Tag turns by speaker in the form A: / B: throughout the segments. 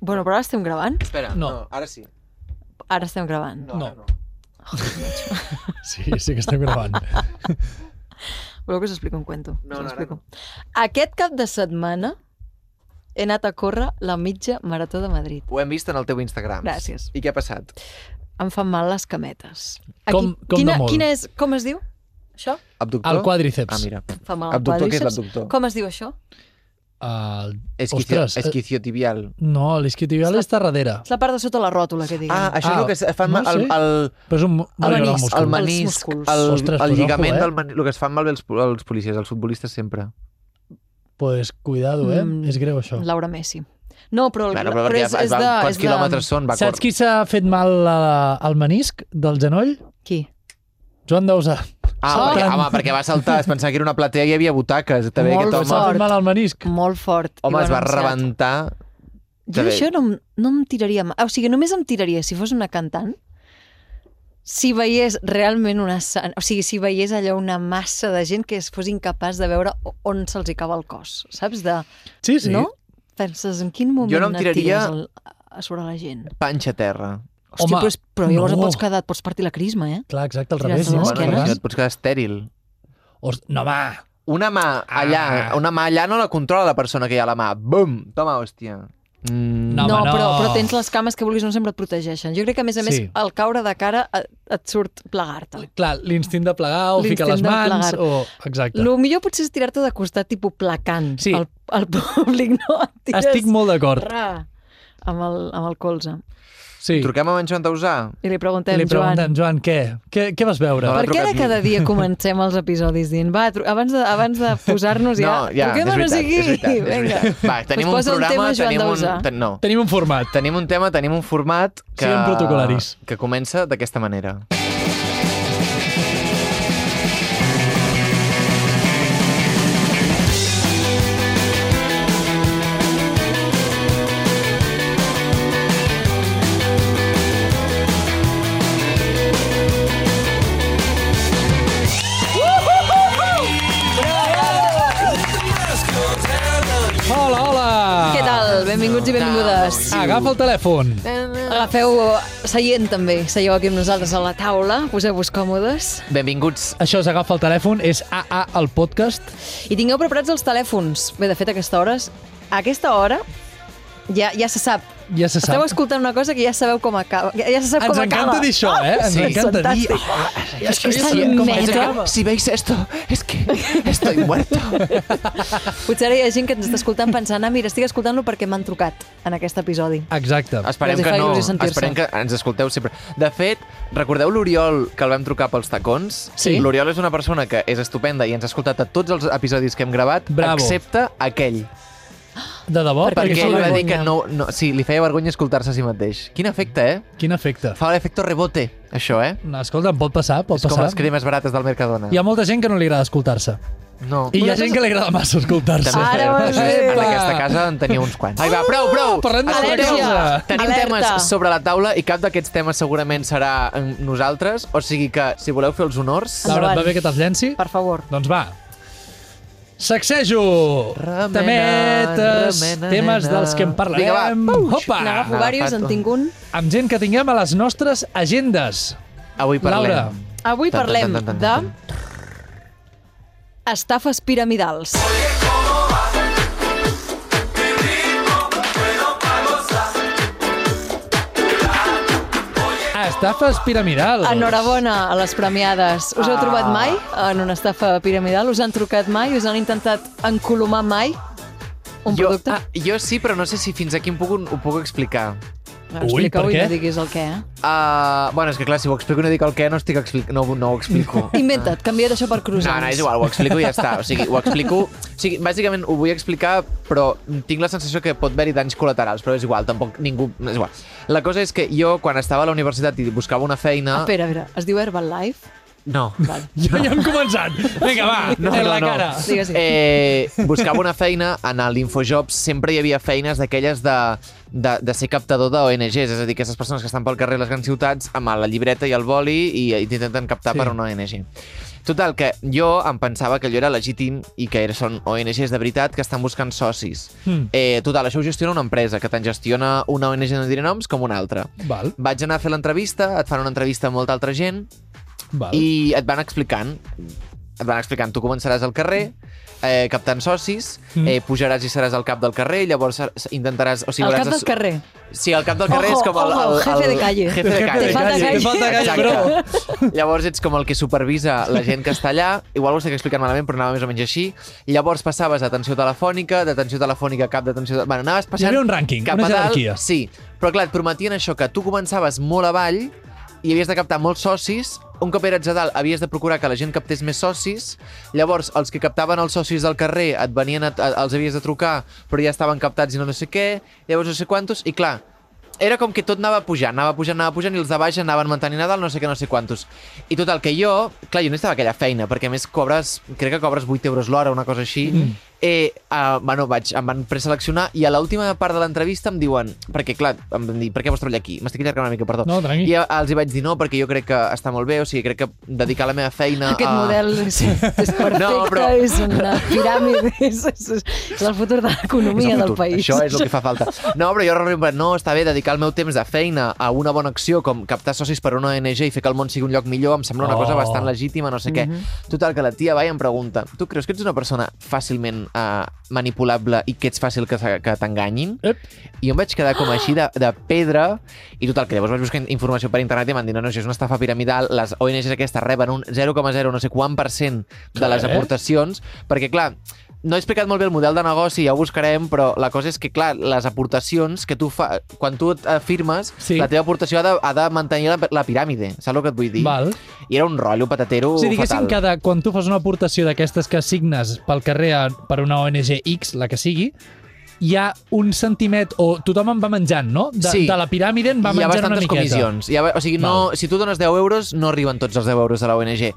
A: Bueno, però ara estem gravant?
B: Espera,
C: No.
B: no, ara sí.
A: Ara estem gravant.
B: No, ara
C: No.
B: no.
C: Sí, sí que estem gravant.
A: Voleu que us explico un cuento?
B: No,
A: Us
B: no, ara
A: l'explico. Aquest cap de setmana he anat a córrer la mitja marató de Madrid.
B: Ho hem vist en el teu Instagram.
A: Gràcies.
B: I què ha passat?
A: Em fan mal les cametes.
C: Com- com de
A: quina,
C: molt?
A: quina és, com es diu? Això?
B: Abductor?
C: El quadríceps.
B: Ah, mira.
A: Fa mal al
B: Abductor, què és
A: quadríceps.
B: l'abductor?
A: Com es diu això?
C: El...
B: Esquicio,
C: Ostres, eh,
B: esquiciotibial.
C: No, l'esquiotibial està darrere.
A: És la part de sota la ròtula, que diguem.
B: Ah, això
C: Ah,
B: és el que es fan
C: no
B: mal... El,
C: sé.
B: el,
C: Però és un
A: El
C: millor
A: menisc,
C: múscul.
B: el
A: mani-
B: menisc,
A: músculs.
B: el,
C: Ostres,
B: el
C: pues
B: lligament
C: ojo, eh?
B: del menisc, el que es fan malbé els, els policies, els futbolistes sempre.
C: pues, cuidado, eh?
A: Mm.
C: És greu, això.
A: Laura Messi. No, però,
B: Claro, ah. però,
A: però
B: perquè
A: és,
B: es
A: és
B: va,
A: de...
B: quants
A: és de...
B: quilòmetres són? Va
C: Saps
B: córrer.
C: qui s'ha fet mal a- al menisc del genoll?
A: Qui?
C: Joan Dausa.
B: Ah,
C: Saps
B: perquè,
C: tant?
B: home, perquè va saltar, es pensava que era una platea i hi havia butaques. També
A: Molt
B: aquest
C: S'ha
B: home,
A: fort.
C: fet mal al menisc.
A: Molt fort. i
B: home
A: ho
B: es va
A: han anunciat.
B: rebentar.
A: Jo
B: També.
A: això no, em- no em tiraria... ma- O sigui, només em tiraria, si fos una cantant, si veiés realment una... sa- O sigui, si veiés allò una massa de gent que es fos incapaç de veure o- on se'ls hi cava el cos, saps? De,
C: Sí, sí.
A: No? Penses, en quin moment
B: Jo no em
A: et
B: tiraria-
A: tires el, a sobre la gent?
B: Panxa a terra.
A: Hòstia,
C: Home,
A: però, és, però llavors
C: no.
A: et pots quedar, et pots partir la crisma, eh?
C: Clar, exacte, al
A: Tirar-se
C: revés, no?
A: les
C: Per
A: esquenes.
B: no,
C: tant,
B: et pots quedar estèril.
C: os- No, va.
B: Una mà allà,
C: Ah.
B: una mà allà no la controla la persona que hi ha a la mà. Bum! Toma, hòstia. Mm,
C: No,
A: no,
C: home, no.
A: Però, però tens les cames que vulguis, no sempre et protegeixen. Jo crec que, a més a més,
C: Sí.
A: al caure de cara et, et surt plegar-te.
C: Clar, l'instint de plegar o ficar
A: L'instint
C: les
A: de
C: mans
A: plegar.
C: o... Exacte.
A: Lo millor potser és tirar-te de costat, tipus placant
C: Sí.
A: al, al públic, no? Et tires
C: Estic molt d'acord.
A: ra, amb, el, amb el colze.
C: Sí.
B: Truquem a en Joan Tausà?
A: I li preguntem,
C: Li preguntem, Joan, què? Què, què vas veure?
B: No,
A: Joan,
B: l'ha
A: per què ara
B: trucat
A: cada dia comencem els episodis dient va, tru- abans de, abans de posar-nos ja,
B: no, ja, és
A: truquem a no
B: veritat,
A: sé qui.
B: és veritat, és veritat.
A: Vinga.
B: Va,
A: Doncs
B: tenim un
A: posa un
B: programa,
A: tema, Joan
B: tenim un...
A: Dausà.
B: Ten, no,
C: Tenim un format.
B: tenim un tema, tenim un format que,
C: Siguem protocolaris.
B: que comença d'aquesta manera.
C: Hola, hola!
A: Què tal? Benvinguts i benvingudes.
C: Agafa el telèfon.
A: Agafeu seient també, seieu aquí amb nosaltres a la taula, poseu-vos còmodes
B: Benvinguts.
C: Això és Agafa el telèfon, és AA el podcast.
A: i tingueu preparats els telèfons. Bé, de fet, a aquesta hora, a aquesta hora ja, ja se sap.
C: Ja se
A: Esteu
C: sap.
A: escoltant una cosa que ja sabeu com acaba. Ja, ja se sap
C: Ens
A: com acaba.
C: encanta dir això, eh? Ens
A: sí,
C: encanta dir...
A: fantàstic.
C: Ah,
A: És que és
C: ja
A: tan
C: sabem com
A: meta.
C: acaba.
B: Si veis esto, es que estoy muerto.
A: Potser ara hi ha gent que ens està escoltant pensant, ah, mira, estic escoltant-lo perquè m'han trucat en aquest episodi.
C: Exacte.
B: Esperem
A: Els hi
B: que
A: fa
B: no,
A: il·lusió sentir-se.
B: esperem que ens escolteu sempre. De fet, recordeu l'Oriol, que el vam trucar pels tacons?
C: Sí.
B: L'Oriol és una persona que és estupenda i ens ha escoltat a tots els episodis que hem gravat,
C: Bravo.
B: excepte aquell.
C: De debò?
A: Perquè
B: Perquè
C: Perquè,
A: fa
B: ell va dir
A: vergonya.
B: que no, no... Sí, li feia vergonya escoltar-se a si mateix. Quin efecte, eh?
C: Quin efecte.
B: Fa l'efecte rebote, això, eh?
C: No, Escolta, em pot passar, pot
B: és com
C: passar.
B: les cremes barates del Mercadona.
C: Hi ha molta gent que no li agrada escoltar-se.
B: No.
C: I hi ha
A: Una
C: gent que li agrada massa escoltar-se.
A: També. Ara
B: Això
A: ho
B: és
A: has
B: cert,
A: dit.
B: en aquesta casa en tenia uns quants. Ai, va, prou, prou!
C: parlem d'altra
B: Escolteu,
C: cosa.
B: Tenim
A: Alerta.
B: temes sobre la taula i cap d'aquests temes segurament serà en nosaltres, o sigui que, si voleu fer els honors...
C: Laura, et va
A: Endavant.
C: bé que te'ls llenci?
A: Per favor.
C: Doncs va. Sacsejo!
B: Remena,
C: Temetes,
B: remena,
C: temes
B: nena.
C: dels que en parlarem.
B: Vinga, va. Puix.
C: Opa!
A: N'agafo
B: n'ha
A: diversos,
B: agafat
A: en
B: un.
A: tinc un.
C: Amb gent que tinguem a les nostres agendes.
B: Avui parlem...
C: Laura.
A: Avui
B: Tan, tan,
A: parlem
B: tan, tan,
A: de
B: tan,
A: estafes piramidals.
C: Estafes piramidals.
A: Enhorabona a les premiades. Us heu trobat mai
B: Ah.
A: en una estafa piramidal? Us han trucat mai? Us han intentat encolomar mai? Un
B: jo,
A: producte?
B: ah, jo sí, però no sé si fins aquí em puc, ho puc explicar.
A: Ah,
C: Ui, per
A: i
C: què?
A: no diguis el què, eh?
B: Uh, bueno, és que clar, si ho explico i no dic el què, no, estic expli... no, no ho explico.
A: Inventa't, canvia't això per
B: No,
A: croissants.
B: no, és igual, ho explico i ja està. O sigui, ho explico... O sigui, bàsicament ho vull explicar, però tinc la sensació que pot haver-hi danys col·laterals, però és igual, tampoc ningú... És igual. La cosa és que jo, quan estava a la universitat i buscava una feina...
A: Espera, a veure, es diu Herbalife?
B: No.
A: Val.
C: Jo ja hem començat. Vinga, va,
B: No,
C: no, en
B: no,
C: la
B: no.
C: cara.
A: Digues, digues.
B: Eh, buscava una feina, en l'Infojobs sempre hi havia feines d'aquelles de, de, de ser captador d'ONGs, és a dir, aquestes persones que estan pel carrer a les grans ciutats amb la llibreta i el boli i, i t'intenten captar
C: Sí.
B: sí. per una ONG. Total, que jo em pensava que allò era legítim i que era- són ONGs de veritat que estan buscant socis.
C: Mm.
B: Eh, total, això ho gestiona una empresa, que tant gestiona una ONG, no diré noms, com una altra.
C: Val,
B: Vaig anar a fer l'entrevista, et fan una entrevista amb molta altra gent,
C: val.
B: i et van explicant et van explicant, tu començaràs al carrer eh, captant socis,
C: Mm.
B: eh, pujaràs i seràs al cap del carrer, llavors ser- intentaràs... O sigui,
A: Al
B: hauràs
A: cap
B: de
A: del
B: su-
A: carrer.
B: Sí, al cap del carrer
A: Ojo,
B: és com el...
A: ojo,
B: el, el
A: jefe de calle.
B: Jefe de
C: Jefe de
B: calle.
A: Te falta calle.
C: Te falta calle,
B: Exacte. Llavors ets com el que supervisa la gent que està allà, igual ho estic explicant malament, però anava més o menys així. Llavors passaves a atenció telefònica, d'atenció telefònica a cap d'atenció... te- Bueno, anaves
C: Hi
B: passant...
C: havia un rànquing,
B: cap
C: una
B: a dalt,
C: jerarquia.
B: Sí, però clar, et prometien això, que tu començaves molt avall i havies de captar molts socis, un cop eres a dalt havies de procurar que la gent captés més socis, llavors els que captaven els socis del carrer et venien a, a, els havies de trucar, però ja estaven captats i no, no sé què, llavors no sé quantos, i clar, era com que tot anava pujant, anava pujant, anava pujant, i els de baix anaven mantenint a dalt no sé què, no sé quantos. I total, que jo, clar, jo no estava aquella feina, perquè a més cobres, crec que cobres 8 euros l'hora, una cosa així, mm.
A: Mm-hmm.
B: eh, uh, bueno, vaig, em van preseleccionar, i a l'última part de l'entrevista em diuen, perquè clar, em van dir, per què vols treballar aquí? M'estic allargant una mica, perdó.
C: No, tranqui.
B: I eh, els hi vaig dir no, perquè jo crec que està molt bé, o sigui, crec que dedicar la meva feina
A: Aquest
B: a...
A: model és, és perfecte,
B: Ah, No, però-
A: és una piràmide, és, és, és el futur de l'economia
B: És el
A: del
B: futur.
A: país.
B: Això és el que fa falta. No, però jo realment, no, està bé dedicar el meu temps de feina a una bona acció com captar socis per una ONG i fer que el món sigui un lloc millor, em sembla una
C: Oh.
B: cosa bastant legítima, no sé què.
A: Mm-hmm.
B: Total, que la tia va i em pregunta, tu creus que ets una persona fàcilment eh, manipulable i que ets fàcil que, se- que t'enganyin?
C: Ep.
B: I jo em vaig quedar com així de, de pedra i total, que llavors vaig buscar informació per internet i em van dir, no, no, això és una estafa piramidal, les ONGs aquestes reben un 0,0 no sé quant per cent de les
C: Clar, eh?
B: aportacions, perquè clar, no he explicat molt bé el model de negoci, ja ho buscarem, però la cosa és que, clar, les aportacions que tu fa... Quan tu et eh, firmes,
C: Sí.
B: sí. la teva aportació ha de, ha de mantenir la, la piràmide, saps el que et vull dir?
C: Val.
B: I era un rotllo patatero
C: O sigui, diguéssim,
B: Uh, fatal.
C: cada, quan tu fas una aportació d'aquestes que signes pel carrer a, per una ONG X, la que sigui, hi ha un centimet, o tothom en va menjant, no? De,
B: Sí.
C: de la piràmide en va
B: hi ha
C: menjant una
B: bastantes
C: miqueta.
B: comissions. Hi ha, o sigui, no, si tu dones 10 euros, no arriben tots els 10 euros a la ONG.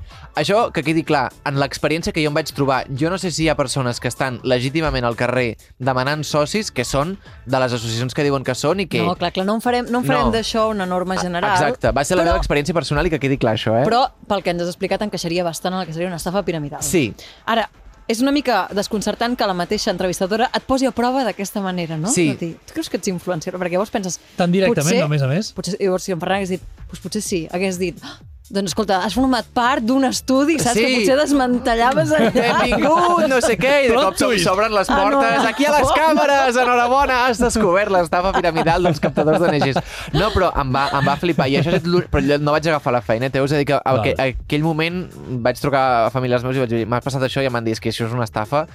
B: Això, que quedi clar, en l'experiència que jo em vaig trobar, jo no sé si hi ha persones que estan legítimament al carrer demanant socis que són de les associacions que diuen que són i que...
A: No, clar, clar, no en farem, no en farem
B: No. Ah,
A: d'això una norma general.
B: Exacte, va ser la
A: però,
B: meva experiència personal i que quedi clar això, eh?
A: Però, pel que ens has explicat, encaixaria bastant en el que seria una estafa piramidal.
B: Sí,
A: Ara, és una mica desconcertant que la mateixa entrevistadora et posi a prova d'aquesta manera, no?
B: Sí.
A: De dir, tu creus que ets influencer? Perquè llavors penses...
C: Tan directament,
A: potser,
C: no, a més a més?
A: Potser, llavors, si en Ferran hagués dit, doncs potser sí, hagués dit... "Ah, Doncs escolta, has format part d'un estudi, saps?
B: Sí.
A: Que potser desmantellaves allà.
B: benvingut, no sé què, i de
C: Plot
B: cop se-
C: twist.
B: s'obren les
A: Ah,
B: portes.
A: Enhorabona.
B: Aquí a les càmeres, enhorabona, has descobert l'estafa piramidal dels captadors d'ONGs. No, però em va, em va flipar, i això és l'ú- però jo no vaig agafar la feina, t'he de dir que a,
C: Val.
B: a aquell moment vaig trucar a famílies meus i vaig dir, m'ha passat això, i em van dir, és que això és una estafa,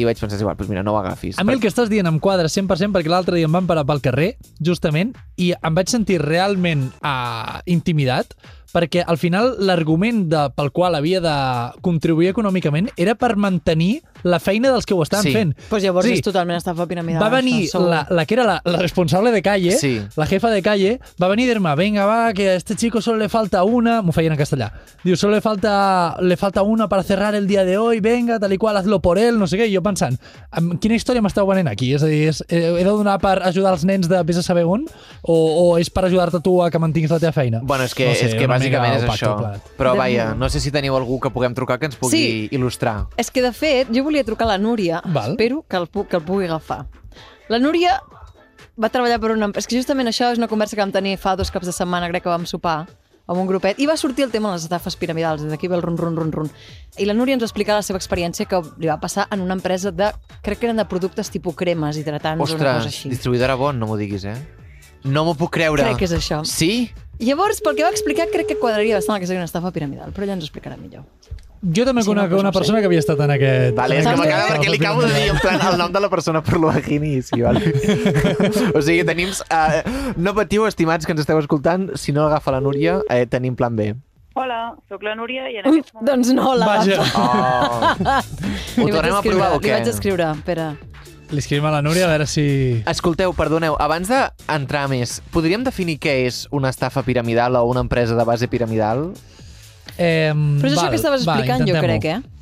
B: i vaig pensar, és igual, doncs mira, no ho agafis.
C: A mi el que estàs dient em quadra 100% perquè l'altre dia em van parar pel carrer, justament, i em vaig sentir realment uh, intimidat perquè al final l'argument de- pel qual havia de contribuir econòmicament era per mantenir la feina dels que ho estan
B: Sí.
C: fent.
A: Pues Doncs llavors
C: Sí.
A: és totalment estafa piramidal.
C: va venir
A: això, segur.
C: la, la que era la, la responsable de calle,
B: Sí.
C: la jefa de calle, va venir a dir-me, venga, va, que a este chico solo le falta una, m'ho feien en castellà, diu, solo le falta, le falta una para cerrar el día de hoy, venga, tal y cual, hazlo por él, no sé què, i jo pensant, "Amb quina història m'esteu venent aquí? És a dir, és, eh, he de donar per ajudar els nens de vés a saber on? O, o és per ajudar-te tu a que mantinguis la teva feina?
B: Bueno, és que,
C: no sé,
B: és que
C: una
B: bàsicament
C: mica
B: és
C: opac
B: això.
C: tot plegat.
B: Però
A: De-
B: vaja, no sé si teniu algú que puguem trucar que ens pugui il·lustrar.
A: És que, de fet, jo volia trucar a la Núria.
C: Val.
A: Espero que el, pu- que el pugui agafar. La Núria va treballar per una... És que justament això és una conversa que vam tenir fa dos caps de setmana, crec que vam sopar amb un grupet, i va sortir el tema de les estafes piramidals, des d'aquí ve el run, run, run, run. I la Núria ens va explicar la seva experiència que li va passar en una empresa de... crec que eren de productes tipus cremes, hidratants o una cosa
B: Ostres,
A: doncs, així.
B: distribuïdora bon, no m'ho diguis, eh? No m'ho puc creure.
A: Crec que és això.
B: Sí?
A: Llavors, pel que va explicar, crec que quadraria bastant el que seria una estafa piramidal, però ella ens ho explicarà millor.
C: Jo també
A: Sí, no,
C: conec
A: doncs
C: una
A: no sé.
C: persona que havia estat en aquest...
B: Vale, és que
A: Saps què?
B: m'acaba perquè li acabo de dir en plan, el nom de la persona per l'Oagini. Sí, vale? o sigui, tenim... Uh, no patiu, estimats, que ens esteu escoltant. Si no agafa la Núria, eh, tenim plan B.
D: Hola, sóc la Núria i en
A: Ui,
D: aquests moments...
A: doncs no, la
C: Vaja,
B: Oh. Ho
A: Li vaig
B: tornem a provar
A: escriure-
B: o
A: Li
B: què?
A: vaig escriure, espera.
C: li escrivim a la Núria a veure si...
B: Escolteu, perdoneu, abans d'entrar més, podríem definir què és una estafa piramidal o una empresa de base piramidal?
C: Eh,
A: Però és
C: val,
A: això que estaves
C: va,
A: explicant, jo
C: intentem-ho.
A: crec, eh?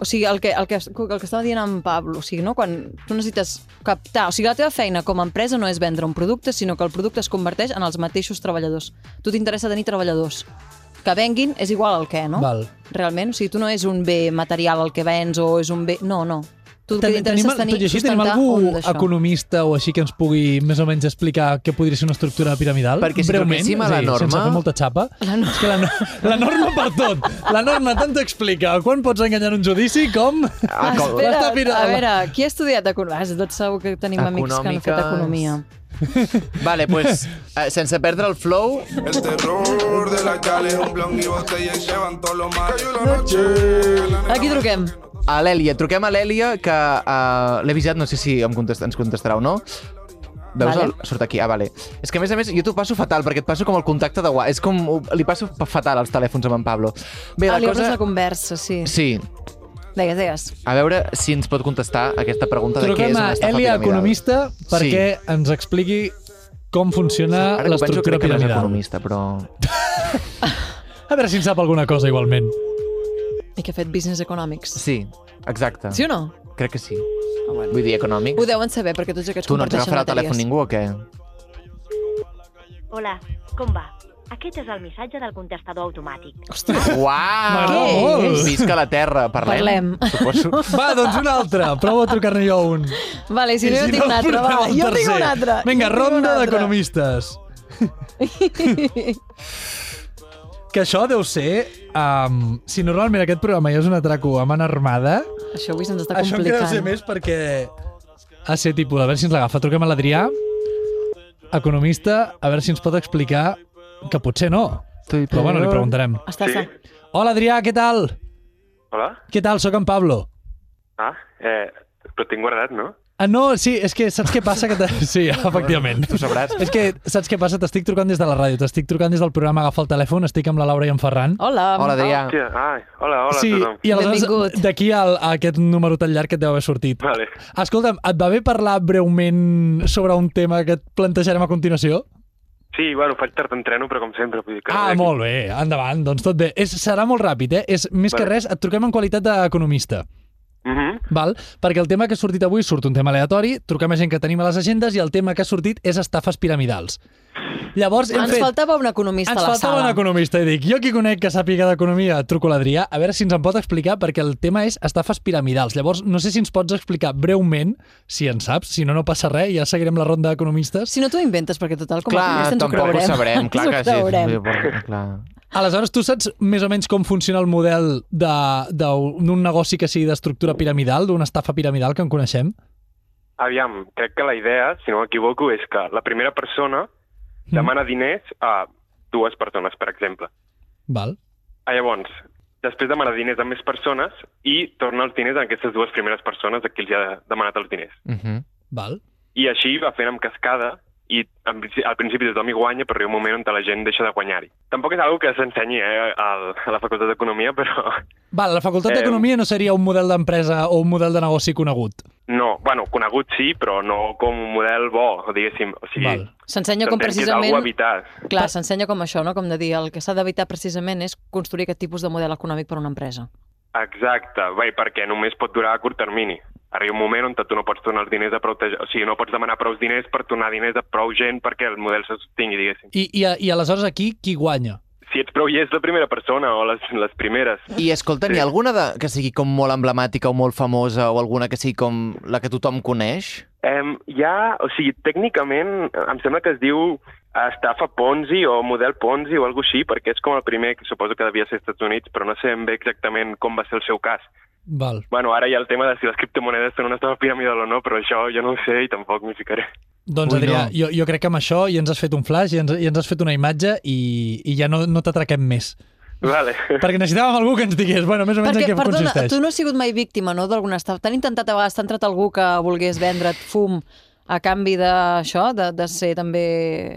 A: O sigui, el que, el, que, el que estava dient en Pablo, o sigui, no? quan tu necessites captar... O sigui, la teva feina com a empresa no és vendre un producte, sinó que el producte es converteix en els mateixos treballadors. A Tu t'interessa tenir treballadors. que venguin és igual el què, no?
C: Val.
A: Realment, o sigui, tu no és un bé material el que vens o és un bé... No, no. Tu el que
C: Ten-
A: t'interessa és tenir,
C: tot i així, tenim
A: sustentar
C: algú
A: un d'això.
C: economista o així que ens pugui més o menys explicar què podria ser una estructura piramidal?
B: Perquè si
C: Breument,
B: truquéssim a
C: és
B: la
C: dir, Sense
B: norma-
C: fer molta xapa. La norma... És que la, no- la norma per tot. La norma tant t'explica quan pots enganyar un judici com...
B: Ah, com-
A: Espera,
C: L'està pirant.
A: a veure, qui ha estudiat economia? Tot segur que tenim amics que han fet
B: Econòmiques.
A: economia.
B: Vale, pues, eh, sense perdre el flow,
E: El terror de la calle es un blon y botella y llevan todo lo mal. Cayó la noche. la nena
A: Aquí truquem.
B: a l'Èlia. Truquem a l'Èlia, que eh, l'he avisat, no sé si em contest ens contestarà o no. Veus?
A: Vale.
B: Vale. Surt aquí. Ah, vale. És que, a més a més, jo t'ho passo fatal, perquè et passo com el contacte de... wa- És com... Li passo fatal els telèfons amb en Pablo. Bé,
A: Ah,
B: la
A: li obres
B: cosa...
A: la conversa, sí.
B: Sí,
A: Deies, deies.
B: a veure si ens pot contestar aquesta pregunta de què
C: Truquem
B: és
C: a
B: una estafa
C: Elia
B: piramidal.
C: Economista perquè ens expliqui com funciona
B: Ara que ho penso,
C: l'estructura
B: crec que no és
C: piramidal.
B: economista, però...
C: A veure si en sap alguna cosa igualment.
A: I que ha fet business economics.
B: Sí, exacte.
A: Sí o no? Ah,
B: Crec que sí. Vull dir, econòmic.
A: Ho deuen saber, perquè tots aquests
B: Tu no ens
A: comparteixen
B: agafarà el
A: matèries.
B: telèfon ningú o què?
F: Hola, com va? Aquest és el missatge del contestador automàtic.
B: Uau!
A: Què és?
B: Visca la Terra, parlem.
A: Parlem.
B: Suposo.
C: Va, doncs un altre. Prova a trucar-ne jo un.
A: Vale, si no, jo tinc un altre.
C: portava
A: Va,
C: el
A: jo tinc
C: tercer.
A: un altre. Jo tinc
C: Vinga,
A: un
C: ronda
A: altre.
C: d'economistes. que això deu ser... Um, si normalment aquest programa ja és un atraco a man armada,
A: Això avui se'ns està
C: això
A: complicant.
C: encara deu ser més perquè... Ha ser tipus, a veure si ens l'agafa. Truquem a l'Adrià, economista, a veure si ens pot explicar que potser no. Però bueno, li preguntarem.
A: Està,
G: Sí.
A: està.
C: Hola, Adrià, què tal?
G: Hola?
C: Què tal? Sóc en Pablo.
G: Ah, eh, però tinc guardat, no?
C: Ah, no, sí, és que saps què passa? Que te- sí, efectivament.
B: Tu sabràs.
C: És que Eh, saps què passa? T'estic trucant des de la ràdio, t'estic trucant des del programa Agafa el telèfon, estic amb la Laura i en Ferran.
A: Hola. Ah,
B: Hola, Adrià.
G: Hòstia, ai, hola, hola
C: Ah. sí,
G: a tothom.
C: i aleshores
A: Benvingut.
C: d'aquí al, a aquest número tan llarg que et deu haver sortit.
G: Vale.
C: Escolta'm, et va bé parlar breument sobre un tema que et plantejarem a continuació?
G: Sí, bueno, faig tard entreno, però com sempre. Vull dir que
C: Ah, molt bé, endavant, doncs tot bé. És, serà molt ràpid, eh? És, més que
G: Vale.
C: res, et truquem en qualitat d'economista.
G: Mm -hmm.
C: Val? Perquè el tema que ha sortit avui surt un tema aleatori, truquem a gent que tenim a les agendes i el tema que ha sortit és estafes piramidals. Llavors hem
A: Ens
C: fet...
A: faltava un economista
C: Ens
A: a la
C: faltava
A: sala.
C: un economista i dic, jo qui conec que sàpiga d'economia, truco a l'Adrià, a veure si ens en pot explicar, perquè el tema és estafes piramidals. Llavors, no sé si ens pots explicar breument, si en saps, si no, no passa res, ja seguirem la ronda d'economistes.
A: Si no t'ho inventes, perquè total, com a
B: Clar,
A: economista ens ho
B: tampoc ho
A: creurem.
B: sabrem. Clar
A: Ens
B: que
A: ho
B: sí.
A: creurem.
B: Vull dir, Clar.
C: Aleshores, tu saps més o menys com funciona el model de- de- d'un negoci que sigui d'estructura piramidal, d'una estafa piramidal que en coneixem?
G: Aviam, crec que la idea, si no m'equivoco, és que la primera persona
C: Mm.
G: demana diners a dues persones, per exemple.
C: Val.
G: Ah, llavors, després demana diners a més persones i torna els diners a aquestes dues primeres persones a qui els ha demanat els diners.
B: Mhm.
C: Val.
G: I així va fent amb cascada i en, princi- al principi tothom hi guanya, però hi ha un moment on la gent deixa de guanyar-hi. Tampoc és una que s'ensenyi eh, al- a la Facultat d'Economia, però
C: Val, la Facultat
G: Eh,
C: d'Economia no seria un model d'empresa o un model de negoci conegut.
G: no, bueno, conegut sí, però no com un model bo, diguéssim. O sigui,
C: Val.
A: S'ensenya com
G: s'entén que és algú a
A: precisament...
G: evitar.
A: Clar, s'ensenya com això, no? Com de dir, el que s'ha d'evitar precisament és construir aquest tipus de model econòmic per a una empresa.
G: Exacte, bé, perquè només pot durar a curt termini. Arriba un moment on tu no pots tornar els diners a prou... te- O sigui, no pots demanar prous diners per tornar diners a prou gent perquè el model se sostingui, diguéssim.
C: I, i, a- i aleshores aquí, qui guanya?
G: Si ets prou i ets la primera persona o les, les primeres,
B: I escolta, n'hi ha
G: Sí.
B: alguna de, que sigui com molt emblemàtica o molt famosa o alguna que sigui com la que tothom coneix?
G: Um, hi ha, o sigui, tècnicament, em sembla que es diu estafa Ponzi o model Ponzi o alguna així, perquè és com el primer que suposo que devia ser als Estats Units, però no sé ben bé exactament com va ser el seu cas.
C: Val.
G: Bueno, ara hi ha el tema de si les criptomonedes són una estafa piramidal o no, però això jo no ho sé i tampoc m'hi ficaré.
C: Doncs,
B: Ui,
C: Ui, Adrià,
B: no.
C: no. jo, jo crec que amb això ja ens has fet un flash, ja ens, ja ens has fet una imatge i, i ja no, no t'atraquem més.
G: Vale.
C: Perquè necessitàvem algú que ens digués, bueno, més o menys
A: Perquè,
C: en què
A: perdona,
C: consisteix.
A: tu no has sigut mai víctima, no?, d'alguna estafa. T'han intentat a vegades, t'ha entrat algú que volgués vendre't fum a canvi d'això, de, de ser també...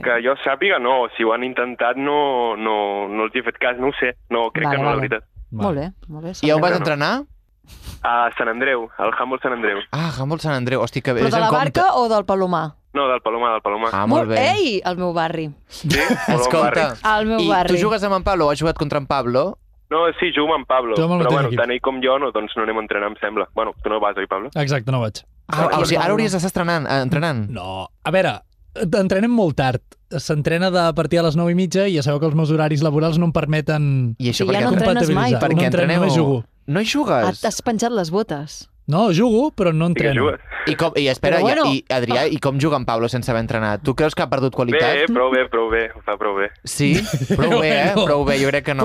G: Que jo sàpiga, no, si ho han intentat no, no, no els hi he fet cas, no ho sé. No, crec
A: Vale,
G: que no,
A: vale.
G: la veritat.
A: Molt bé, molt bé.
B: I on vas
G: no.
B: entrenar?
G: A Sant Andreu, al Humboldt Sant Andreu.
B: Ah, Humboldt Sant Andreu. Hosti, que
A: Però
B: és
A: de
B: en
A: la
B: compte.
A: barca o del Palomar?
G: No, del Palomar, del Palomar.
B: Ah, molt bé.
A: Ei, al meu barri.
G: Sí? Molt bon barri.
B: Escolta,
A: Al meu
B: i
A: barri.
B: tu jugues amb en Pablo o has jugat contra en Pablo?
G: No, sí, jugo amb en Pablo,
C: Tu amb el
G: però
C: mateix
G: bueno,
C: equip.
G: tant ell com jo no, doncs no anem a entrenar, em sembla. Bueno, tu no vas, oi, Pablo?
C: Exacte, no vaig.
B: Ah,
A: Ah,
B: o sigui,
A: Pablo.
B: ara hauries d'estar estrenant, eh, entrenant.
C: No. A veure, entrenem molt tard. S'entrena de partir a les 9 i mitja i ja sabeu que els meus horaris laborals no em permeten...
B: I
A: Sí,
B: això
A: ja
B: perquè...
A: no Ah, entrenes
C: compatibilitzar.
A: mai.
C: No
B: perquè
C: entreno,
B: entreneu...
C: només jugo.
B: No hi jugues?
A: Et- T'has penjat les botes.
C: No, jugo, però no
G: I que
C: entreno.
G: jugues.
B: I, com, I espera,
A: Però bueno.
B: i, i Adrià, i com juga en Pablo sense haver entrenat? Tu creus que ha perdut
G: Bé,
B: qualitat?
G: prou bé, prou bé, ho fa prou bé.
B: Sí? Prou bé, eh?
C: Bueno.
B: Prou bé, jo crec que no.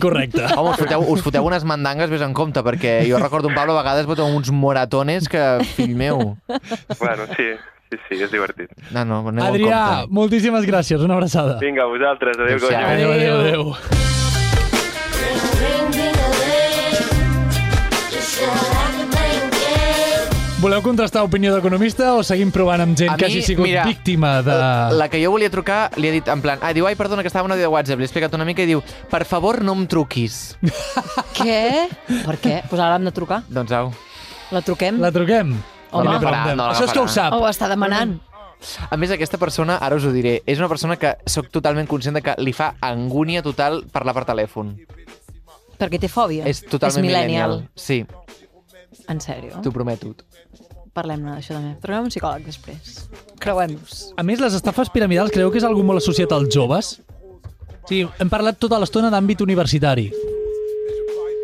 C: correcte.
B: Home, us foteu, us foteu unes mandangues, vés en compte, perquè jo recordo un Pablo a vegades voteu uns moratones que, fill meu...
G: Bueno, sí, sí, sí, és divertit.
B: No, no, aneu
C: Adrià,
B: en compte.
C: moltíssimes gràcies. Una abraçada.
G: Vinga, vosaltres, adéu,
B: Adéu-siau.
G: coño.
C: Adéu, adéu, adéu. Voleu contrastar opinió d'economista o seguim provant amb gent
B: A
C: que
B: mi,
C: hagi sigut
B: mira,
C: víctima de...
B: Eh, La que jo volia trucar li he dit en plan... Ah, diu, ai, perdona, que estava en una de WhatsApp. Li he explicat una mica i diu, per favor, no em truquis.
A: Què? Per què? Doncs pues ara l'hem de trucar.
B: doncs au.
A: La truquem?
C: La truquem?
A: Home.
C: I li
B: Agafarà,
C: preguntem.
B: no
C: Això és que ho
B: l'agafarà.
C: sap.
A: Ho està demanant.
B: A més, aquesta persona, ara us ho diré, és una persona que sóc totalment conscient de que li fa angúnia total parlar per telèfon.
A: Perquè té fòbia.
B: És totalment
A: És millennial.
B: millennial. Sí,
A: En sèrio.
B: t'ho prometo.
A: Parlem-ne d'això també. Trobem un psicòleg després. Creuem-nos.
C: A més, les estafes piramidals creu que és algú molt associat als joves? Sí, hem parlat tota l'estona d'àmbit universitari,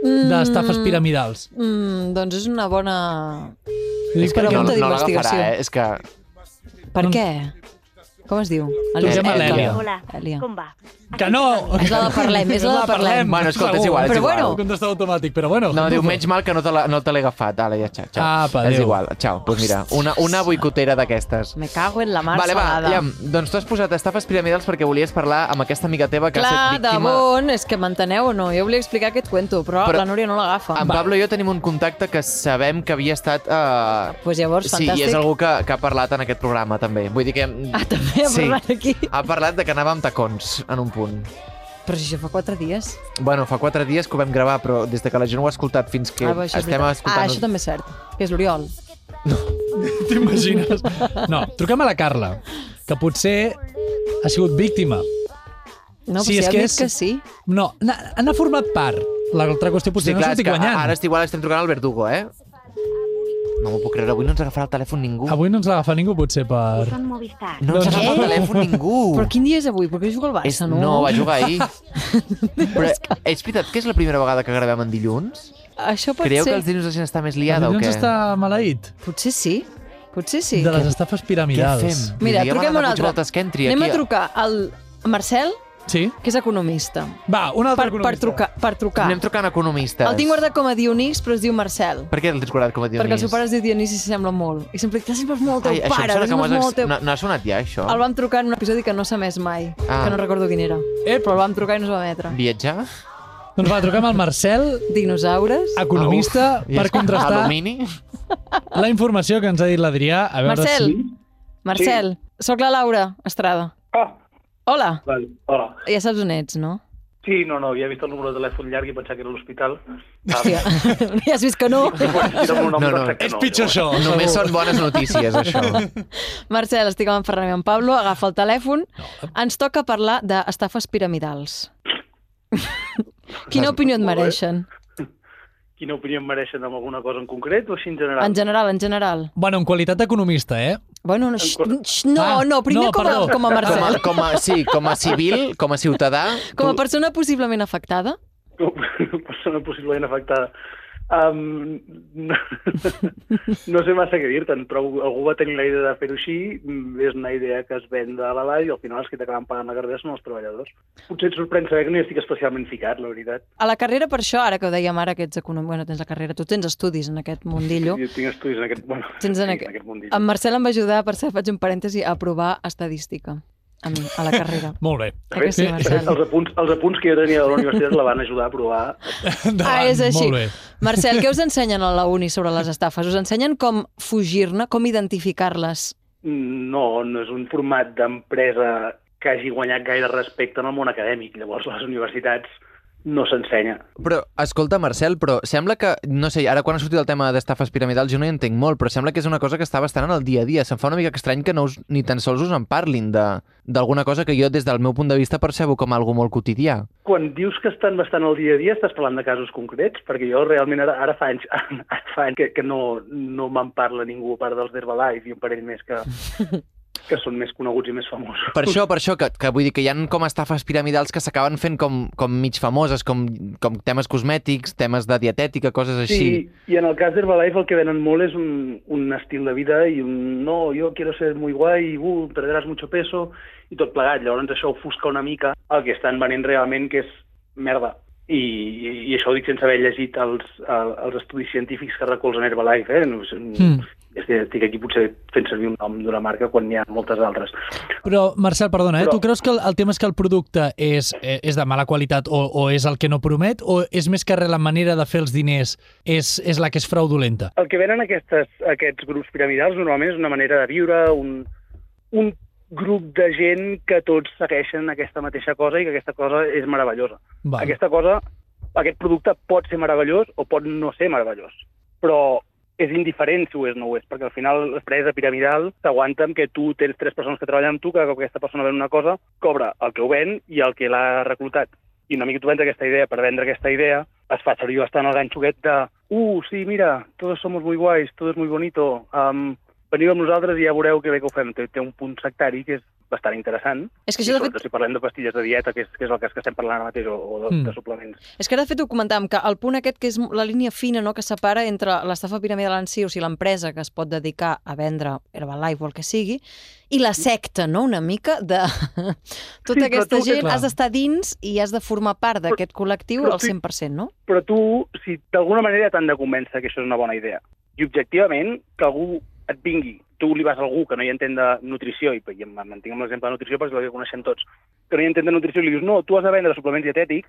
C: d'estafes piramidals.
A: Mm, doncs és una bona...
C: Ho dic
A: És que
C: perquè-
A: no- pregunta
B: no, no l'agafarà,
A: d'investigació.
B: eh? És que...
A: Per
B: Doncs-
C: No.
A: què? Com es diu?
C: Truquem a l'Èlia.
F: Hola,
A: Èlia.
F: com va?
C: Que no!
A: És la de Parlem, és la de Parlem.
B: Bueno, escolta, és igual, és
A: Però igual. bueno.
C: Contestador automàtic, però bueno.
B: No, diu, menys mal que no te la- no te l'he agafat. Ara ja, xau, xau.
C: Apa,
B: És
C: adéu.
B: igual, xau. Doncs mira, una, una boicotera d'aquestes.
A: Me cago en la mar
B: Vale, va,
A: salada.
B: ja, doncs tu has posat estafes piramidals perquè volies parlar amb aquesta amiga teva que ha
A: Clar,
B: estat
A: de
B: víctima...
A: bon, és que m'enteneu o no? Jo volia explicar aquest cuento, però,
B: Però-
A: la Núria no l'agafa.
B: En Pablo i jo tenim un contacte que sabem que havia estat... Eh...
A: Pues llavors,
B: sí, i
A: fantàstic.
B: és algú que, que ha parlat en aquest programa, també. Vull dir que... mm,
A: Ah, també ha parlat aquí.
B: Ha parlat de que anava amb tacons, en un punt.
A: Però si això fa quatre dies.
B: Bueno, fa quatre dies que ho vam gravar, però des de que la gent ho ha escoltat fins que
A: Ah,
B: ah,
A: va, això és
B: estem
A: veritat.
B: escoltant...
A: Ah, això també és cert, que és l'Oriol.
C: T'imagines? No, truquem a la Carla, que potser ha sigut víctima.
A: No,
C: Sí,
A: sí,
C: és
A: si ha
C: que
A: dit
C: és-
A: que sí.
C: No, n'ha- n'ha format part. L'altra qüestió potser no
B: és
C: surti
B: que
C: guanyant.
B: ara estic igual estem trucant al Verdugo, eh? No m'ho puc creure, avui no ens agafarà el telèfon ningú.
C: Avui no ens l'agafa ningú, potser, per...
F: Són Movistar.
B: No ens
C: Doncs
B: agafa
A: què?
B: el telèfon ningú.
A: Però quin dia és avui? Perquè juga al
B: És,
A: Barça,
B: no,
A: no?
B: va jugar ahir. Però és veritat que és la primera vegada que gravem en dilluns?
A: Això pot
B: Creieu
A: ser.
B: que els dilluns la gent està més
C: Ja,
B: liada o
C: doncs
B: què?
C: està maleït.
A: Potser sí. Potser sí.
C: De les estafes
B: Què
C: piramidals.
B: fem?
A: Mira,
B: Diguem a
A: truquem
B: l'Anna
A: un altre.
B: Puigvoltes que entri
A: Anem
B: aquí.
A: a trucar al Marcel,
C: Sí?
A: que és economista.
C: Va, un altre
A: Per, per trucar. Per trucar.
B: Anem trucant economistes.
A: El tinc guardat com a Dionís, però es diu Marcel.
B: Per què el tens guardat com a Dionís?
A: Perquè el seu pare es diu Dionís i s'assembla molt. I sempre dic, t'assembles molt al
B: Ai,
A: teu
B: això
A: pare,
B: em sembla que m'ho
A: t'assembles
B: has-
A: molt al teu...
B: no, no ha sonat ja, això?
A: El vam trucar en un episodi que no s'ha més mai,
B: Ah.
A: que no recordo quin era.
C: Ep.
A: Però el vam trucar i no es va emetre.
B: Viatjar?
C: Doncs va, truquem al Marcel,
A: Dinosaures?
C: economista,
B: Ah, uf. I
C: per
B: és-
C: contrastar
B: Alumini?
C: la informació que ens ha dit l'Adrià. A veure
A: Marcel,
C: si...
A: Marcel, sóc la Laura Estrada.
H: Ah,
A: Hola,
H: vale. Hola.
A: ja saps on ets, no?
H: Sí, no, no, havia vist el número de telèfon llarg i pensava que era l'hospital.
A: Hòstia, ja has vist que no.
H: no, no,
B: No, no,
H: no,
C: És pitjor això.
B: Només
C: segur.
B: són bones notícies, això.
A: Marcel, estic amb en Ferran i amb en Pablo, agafa el telèfon. Ens toca parlar d'estafes piramidals. Quina opinió et mereixen?
H: Quina opinió em mereixen amb alguna cosa en concret o així en general?
A: En general, en general.
C: Bueno, en qualitat d'economista, eh?
A: Bueno, no, xxt, xxt, no,
C: Ah,
A: no, primer
C: no,
A: com,
C: perdó.
A: a, com a
B: Com a,
A: Marcel.
B: com a, sí, com a civil, com a ciutadà...
A: Com a
B: tu-
A: persona possiblement afectada.
H: Com a persona possiblement afectada. Um, no, no sé massa què dir-te'n, però algú va tenir la idea de fer-ho així, mm, és una idea que es ven de la vall i al final els que t'acaben pagant la cartera són els treballadors. Potser et sorprèn saber que no hi estic especialment ficat, la veritat.
A: A la carrera, per això, ara que ho dèiem ara, que ets econòmic, bueno, tens la carrera, tu tens estudis en aquest mundillo.
H: Jo tinc estudis en aquest, bueno,
A: Tens en
H: sí,
A: aquest-
H: mundillo.
A: En Marcel em va ajudar, per cert, faig un parèntesi, a aprovar estadística. A mi, a la carrera.
C: Molt bé.
A: Eh que sí, Marcel?
H: Els apunts, els apunts que jo tenia de la universitat la van ajudar a provar.
C: Endavant,
A: Ah, és així.
C: Molt bé.
A: Marcel, què us ensenyen a la uni sobre les estafes? Us ensenyen com fugir-ne, com identificar-les?
H: No, no és un format d'empresa que hagi guanyat gaire respecte en el món acadèmic. Llavors, a les universitats no s'ensenya.
B: Però, escolta, Marcel, però sembla que, no sé, ara quan ha sortit el tema d'estafes piramidals jo no hi entenc molt, però sembla que és una cosa que està bastant en el dia a dia. Se'm fa una mica estrany que no us, ni tan sols us en parlin de- d'alguna cosa que jo, des del meu punt de vista, percebo com algo molt quotidià.
H: Quan dius que estan bastant al dia a dia, estàs parlant de casos concrets? Perquè jo realment ara, ara fa anys, ara fa anys que, que no, no me'n parla ningú a part dels d'Herbalife i un parell més que, que són més coneguts i més famosos.
B: Per això, per això, que, que vull dir que hi han com estafes piramidals que s'acaben fent com, com mig famoses, com, com temes cosmètics, temes de dietètica, coses així.
H: Sí, y en el cas d'Herbalife el que venen molt és un, un estil de vida i un no, jo quiero ser muy guai, uh, perderàs mucho peso, i tot plegat. Llavors això ofusca una mica el que estan venent realment, que és merda. I, i, i això ho dic sense haver llegit els, el, els estudis científics que recolzen Herbalife, eh? No, sé,
C: Mm.
H: és que estic aquí potser fent servir un nom d'una marca quan n'hi ha moltes altres.
C: Però, Marcel, perdona, eh?
H: Però-
C: tu creus que el, el tema és que el producte és, eh, és de mala qualitat o, o és el que no promet o és més que res la manera de fer els diners és, és la que és fraudulenta?
H: El que venen aquestes, aquests grups piramidals normalment és una manera de viure, un, un grup de gent que tots segueixen aquesta mateixa cosa i que aquesta cosa és meravellosa.
C: Val.
H: Aquesta cosa, aquest producte pot ser meravellós o pot no ser meravellós, però és indiferent si ho és o no ho és, perquè al final l'empresa piramidal s'aguanta amb que tu tens tres persones que treballen amb tu, cada cop que aquesta persona ven una cosa, cobra el que ho ven i el que l'ha reclutat. I una mica tu vens aquesta idea per vendre aquesta idea, es fa servir bastant el ganxoquet de uh, sí, mira, todos somos muy guais, todo es muy bonito, um, veniu amb nosaltres i ja veureu que bé que ho fem. Té, té un punt sectari que és bastant interessant.
A: És que
H: I
A: això, de fet,
H: sobretot, si parlem de pastilles de dieta, que és, que és el cas que estem parlant ara mateix, o, o de,
C: Mm.
H: mm. de suplements.
A: És que ara, de fet, ho comentàvem, que el punt aquest, que és la línia fina no, que separa entre l'estafa piramidal en si, o sigui, l'empresa que es pot dedicar a vendre Herbalife o el que sigui, i la secta, no?, una mica, de tota
H: Sí, però
A: aquesta
H: tu-
A: gent.
C: clar.
A: Has d'estar dins i has de formar part d'aquest col·lectiu
H: però
A: al
H: tu-
A: 100%, no?
H: Però tu, si d'alguna manera t'han de convèncer que això és una bona idea, i objectivament que algú et vingui, tu li vas a algú que no hi entén de nutrició, i, i em mantinc amb l'exemple de nutrició perquè és el que coneixem tots, que no hi entén de nutrició i li dius, no, tu has de vendre suplements dietètics,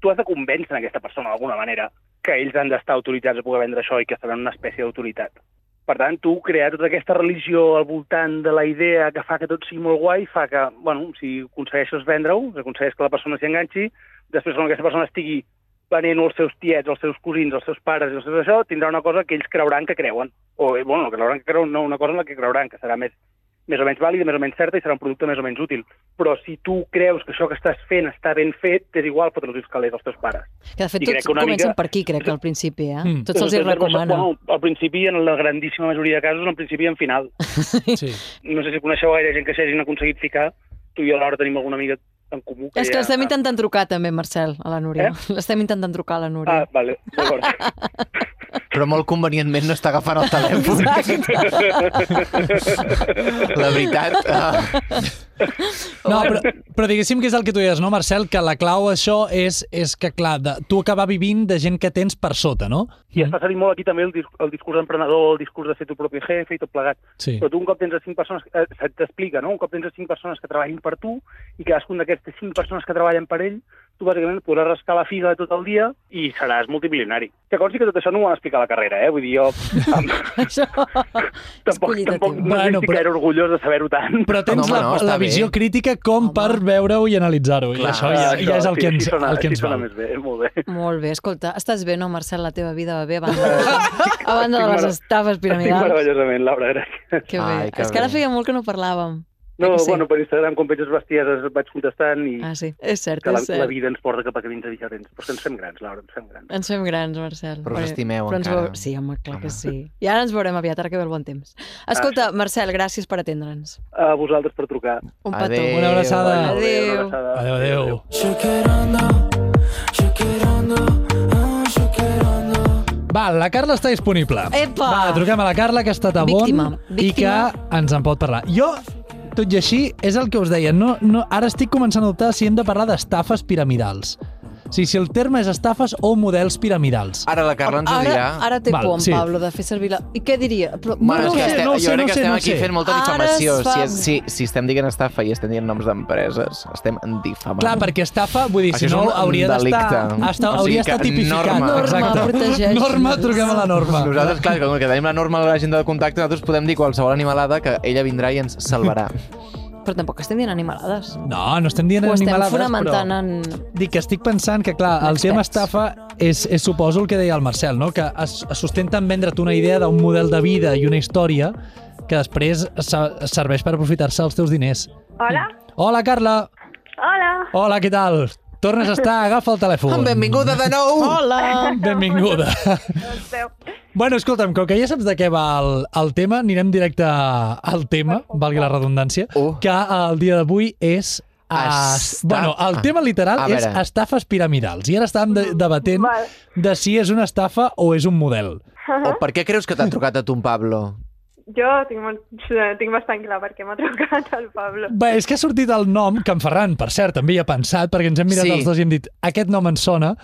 H: tu has de convèncer aquesta persona d'alguna manera que ells han d'estar autoritzats a poder vendre això i que seran una espècie d'autoritat. Per tant, tu crear tota aquesta religió al voltant de la idea que fa que tot sigui molt guai, fa que, bueno, si aconsegueixes vendre-ho, si aconsegueix que la persona s'hi enganxi, després quan aquesta persona estigui venent els seus tiets, els seus cosins, els seus pares i els seus això, tindrà una cosa que ells creuran que creuen. O, eh, bueno, no creuran que creuen, no, una cosa en la que creuran, que serà més, més o menys vàlida, més o menys certa i serà un producte més o menys útil. Però si tu creus que això que estàs fent està ben fet, és igual fotre els calés als teus pares.
A: Que, de fet,
H: I crec
A: tots
H: que una
A: comencen
H: mica-
A: per aquí, crec, al principi, eh?
C: Mm.
A: Tots se'ls hi
H: Després,
A: recomana.
H: Bueno, al principi, en la grandíssima majoria de casos, en principi i en final.
C: Sí.
H: No sé si coneixeu gaire gent que s'hagin aconseguit ficar. Tu i jo alhora tenim alguna amiga en comú.
A: És que
H: ja-
A: l'estem intentant trucar, també, Marcel, a la Núria.
H: Eh?
A: L'estem intentant trucar a la Núria.
H: Ah, vale, d'acord.
B: Però molt convenientment no està agafant el telèfon. La veritat... Uh,
C: No, però, però diguéssim que és el que tu deies, no, Marcel? Que la clau a això és, és que, clar, de, tu acabar vivint de gent que tens per sota, no?
H: I es fa servir molt aquí també el, dis el discurs d'emprenedor, el discurs de ser tu propi jefe i tot plegat.
C: Sí.
H: Però tu un cop tens les cinc persones, eh, se't t'explica, no? Un cop tens les cinc persones que treballin per tu i cadascun d'aquestes cinc persones que treballen per ell, tu bàsicament podràs rascar la figa tot el dia i seràs multimilionari. Que consti que tot això no ho van explicar a la carrera, eh? Vull dir, jo amb,
A: Això és
H: tampoc, tampoc
A: qualitatiu.
H: no
C: Bueno,
H: bueno, estic
C: però-
H: però... gaire orgullós de saber-ho tant.
C: Però tens
B: No, home,
C: la,
B: no, està
C: la
B: bé.
C: visió crítica com
A: Home.
C: per veure-ho i analitzar-ho. I
B: Clar,
C: això ja,
H: Això,
C: ja és el
H: sí,
C: que ens,
H: així sona,
C: el que ens
H: així sona
C: val.
H: més bé, eh? molt bé.
A: Molt bé, escolta, estàs bé, no, Marcel? La teva vida va bé a banda, de- a banda de les
H: mera-
A: estafes
H: Estic
A: piramidals.
H: meravellosament, Laura, gràcies.
A: Que bé.
B: Ai, que
A: és que ara
B: bé.
A: feia molt que no parlàvem.
H: No,
A: que sí?
H: bueno, per Instagram, com veig les bestieses, et vaig contestant i...
A: Ah, sí, és cert,
H: que la,
A: és
H: la
A: cert.
H: vida ens porta cap a camins diferents. Però és que ens fem grans, Laura, ens fem grans.
A: Ens fem grans, Marcel.
B: Però us estimeu
A: ens
B: encara.
A: veu- Sí, home, clar que
B: Home.
A: sí. I ara ens veurem aviat, ara que ve el bon temps.
H: Ah.
A: Escolta, Marcel, gràcies per atendre'ns.
H: A vosaltres per trucar.
A: Un petó.
B: Adéu.
C: Una abraçada.
A: Adéu.
H: Una abraçada.
C: Adéu, adéu. Va, la Carla està disponible.
A: Epa!
C: Va, truquem a la Carla, que està a
A: Víctima,
C: bon i que
A: víctima.
C: ens en pot parlar. Jo, tot i així, és el que us deia. No, no, ara estic començant a dubtar si hem de parlar d'estafes piramidals. O sigui, si el terme és estafes o models piramidals.
B: ara la Carla ens ho dirà.
A: Ara, ara té
C: Val,
A: por, en
C: sí.
A: Pablo, de fer servir la... I què diria? Però,
B: Bueno, és
C: no
B: que
C: ho sé,
B: estem,
C: no ho sé,
B: jo crec
C: no ho
B: que
C: sé,
B: estem
C: no ho
B: aquí
C: sé.
B: fent molta
A: Ara es
B: difamació.
A: fa-
B: Si, és, si, si estem dient estafa i estem dient noms d'empreses, estem en difamant.
C: Clar, perquè estafa, vull dir,
B: Això
C: si
B: és
C: no,
B: un
C: hauria d'estar
B: delicte.
C: hasta-
B: O sigui
C: hauria
B: que
C: d'estar tipificat.
B: norma. Norma,
A: protegeix.
C: Norma, truquem a la norma.
B: Nosaltres, clar, com que tenim la norma a l'agenda de contacte, nosaltres podem dir qualsevol animalada que ella vindrà i ens salvarà.
A: Però tampoc estem dient animalades.
C: No, no estem dient
A: Ho estem
C: animalades,
A: fonamentant
C: però...
A: en...
C: Dic que estic pensant que, clar, el tema estafa és, és suposo el que deia el Marcel, no? que es, es sustenta en vendre't una idea d'un model de vida i una història que després se- serveix per aprofitar-se els teus diners.
F: Hola?
C: Hola, Carla!
F: Hola!
C: Hola, què tal? Tornes a estar, agafa el telèfon.
B: Benvinguda de nou!
A: Hola!
C: Benvinguda.
F: Doncs veu,
C: Bueno, escolta'm, com que ja saps de què va el, el tema, anirem directe al tema, valgui la redundància,
B: Uh.
C: que el dia d'avui és...
B: Estaf-
C: Es... Bueno, el tema literal
B: A
C: és
B: veure.
C: estafes piramidals. I ara estàvem de debatent
I: Val.
C: de si és una estafa o és un model.
B: O per què creus que t'ha trucat a tu, en Pablo?
I: Jo tinc, molt, eh, tinc bastant clar perquè m'ha trucat el Pablo.
C: Bé, és que ha sortit el nom, que en Ferran, per cert, també hi ha pensat, perquè ens hem mirat
B: Sí.
C: els dos i hem dit aquest nom ens sona,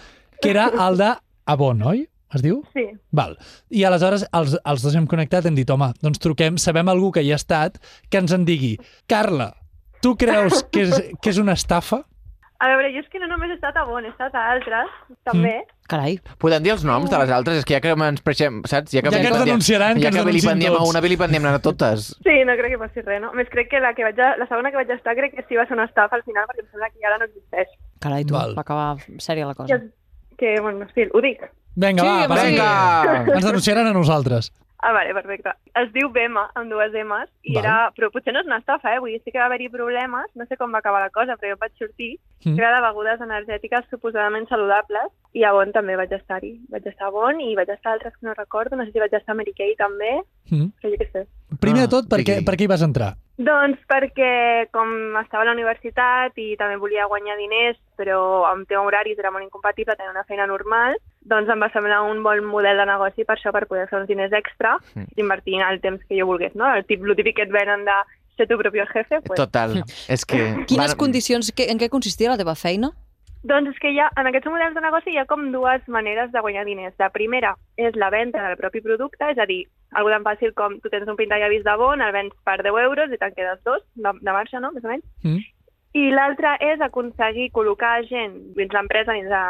C: que era el de Avon, oi? Es diu?
I: Sí,
C: Val. I aleshores els, els dos hem connectat, hem dit, home, doncs truquem, sabem algú que hi ha estat, que ens en digui, Carla, tu creus que és, que és una estafa?
I: a veure, jo és que no només he estat a Bon, he estat a altres, també.
A: Carai,
B: Podem dir els noms de les altres? És que ja que ens preixem, saps?
C: Ja que ens
B: vilipendiem-
C: denunciaran, que
B: ja
C: ens
B: que
C: denunciïn
B: vilipendiem a
C: tots.
B: una, vilipendiem a totes.
I: Sí, no crec que passi res, no? A Més, crec que la, que vaig a, la segona que vaig estar crec que sí va ser una estafa al final perquè em sembla que ara no existeix.
A: carai, tu,
C: Val.
A: va acabar sèria la
I: Que,
A: cosa.
I: que bueno, sí, ho dic.
C: Vinga,
A: Sí,
C: va,
A: home,
C: va,
A: sí.
B: Ah, Vinga!
C: Ens denunciaran a nosaltres.
I: Ah, vale, perfecte. Es diu Bema, amb dues M's, i
C: Val.
I: era... Però potser no és una estafa, eh? Vull dir, sí que va haver-hi problemes, no sé com va acabar la cosa, però jo vaig sortir,
C: Mm.
I: mm. que era de begudes energètiques suposadament saludables, i a Bon també vaig estar-hi. Vaig estar a Bon i vaig estar a altres que no recordo, no sé si vaig estar a Mary Kay també,
C: Mm.
I: però jo què sé.
C: Primer de
B: Ah,
C: tot, per què,
B: digui.
C: per què hi vas entrar?
I: Doncs perquè com estava a la universitat i també volia guanyar diners, però amb tema horaris era molt incompatible tenir una feina normal, doncs em va semblar un bon model de negoci per això, per poder fer uns diners extra
B: Mm.
I: i invertir en el temps que jo volgués, no? El tip, lo típic que et venen de ser tu propi jefe, pues.
B: Total. És que...
A: Quines
B: van-
A: condicions, que, en què consistia la teva feina?
I: Doncs és que ja, en aquests models de negoci hi ha com dues maneres de guanyar diners. La primera és la venda del propi producte, és a dir, algo tan fàcil com tu tens un pintallavis de bon, el vens per 10 euros i te'n quedes dos de, de marxa, no?, més o menys.
C: Mm.
I: I l'altra és aconseguir col·locar gent dins l'empresa dins de,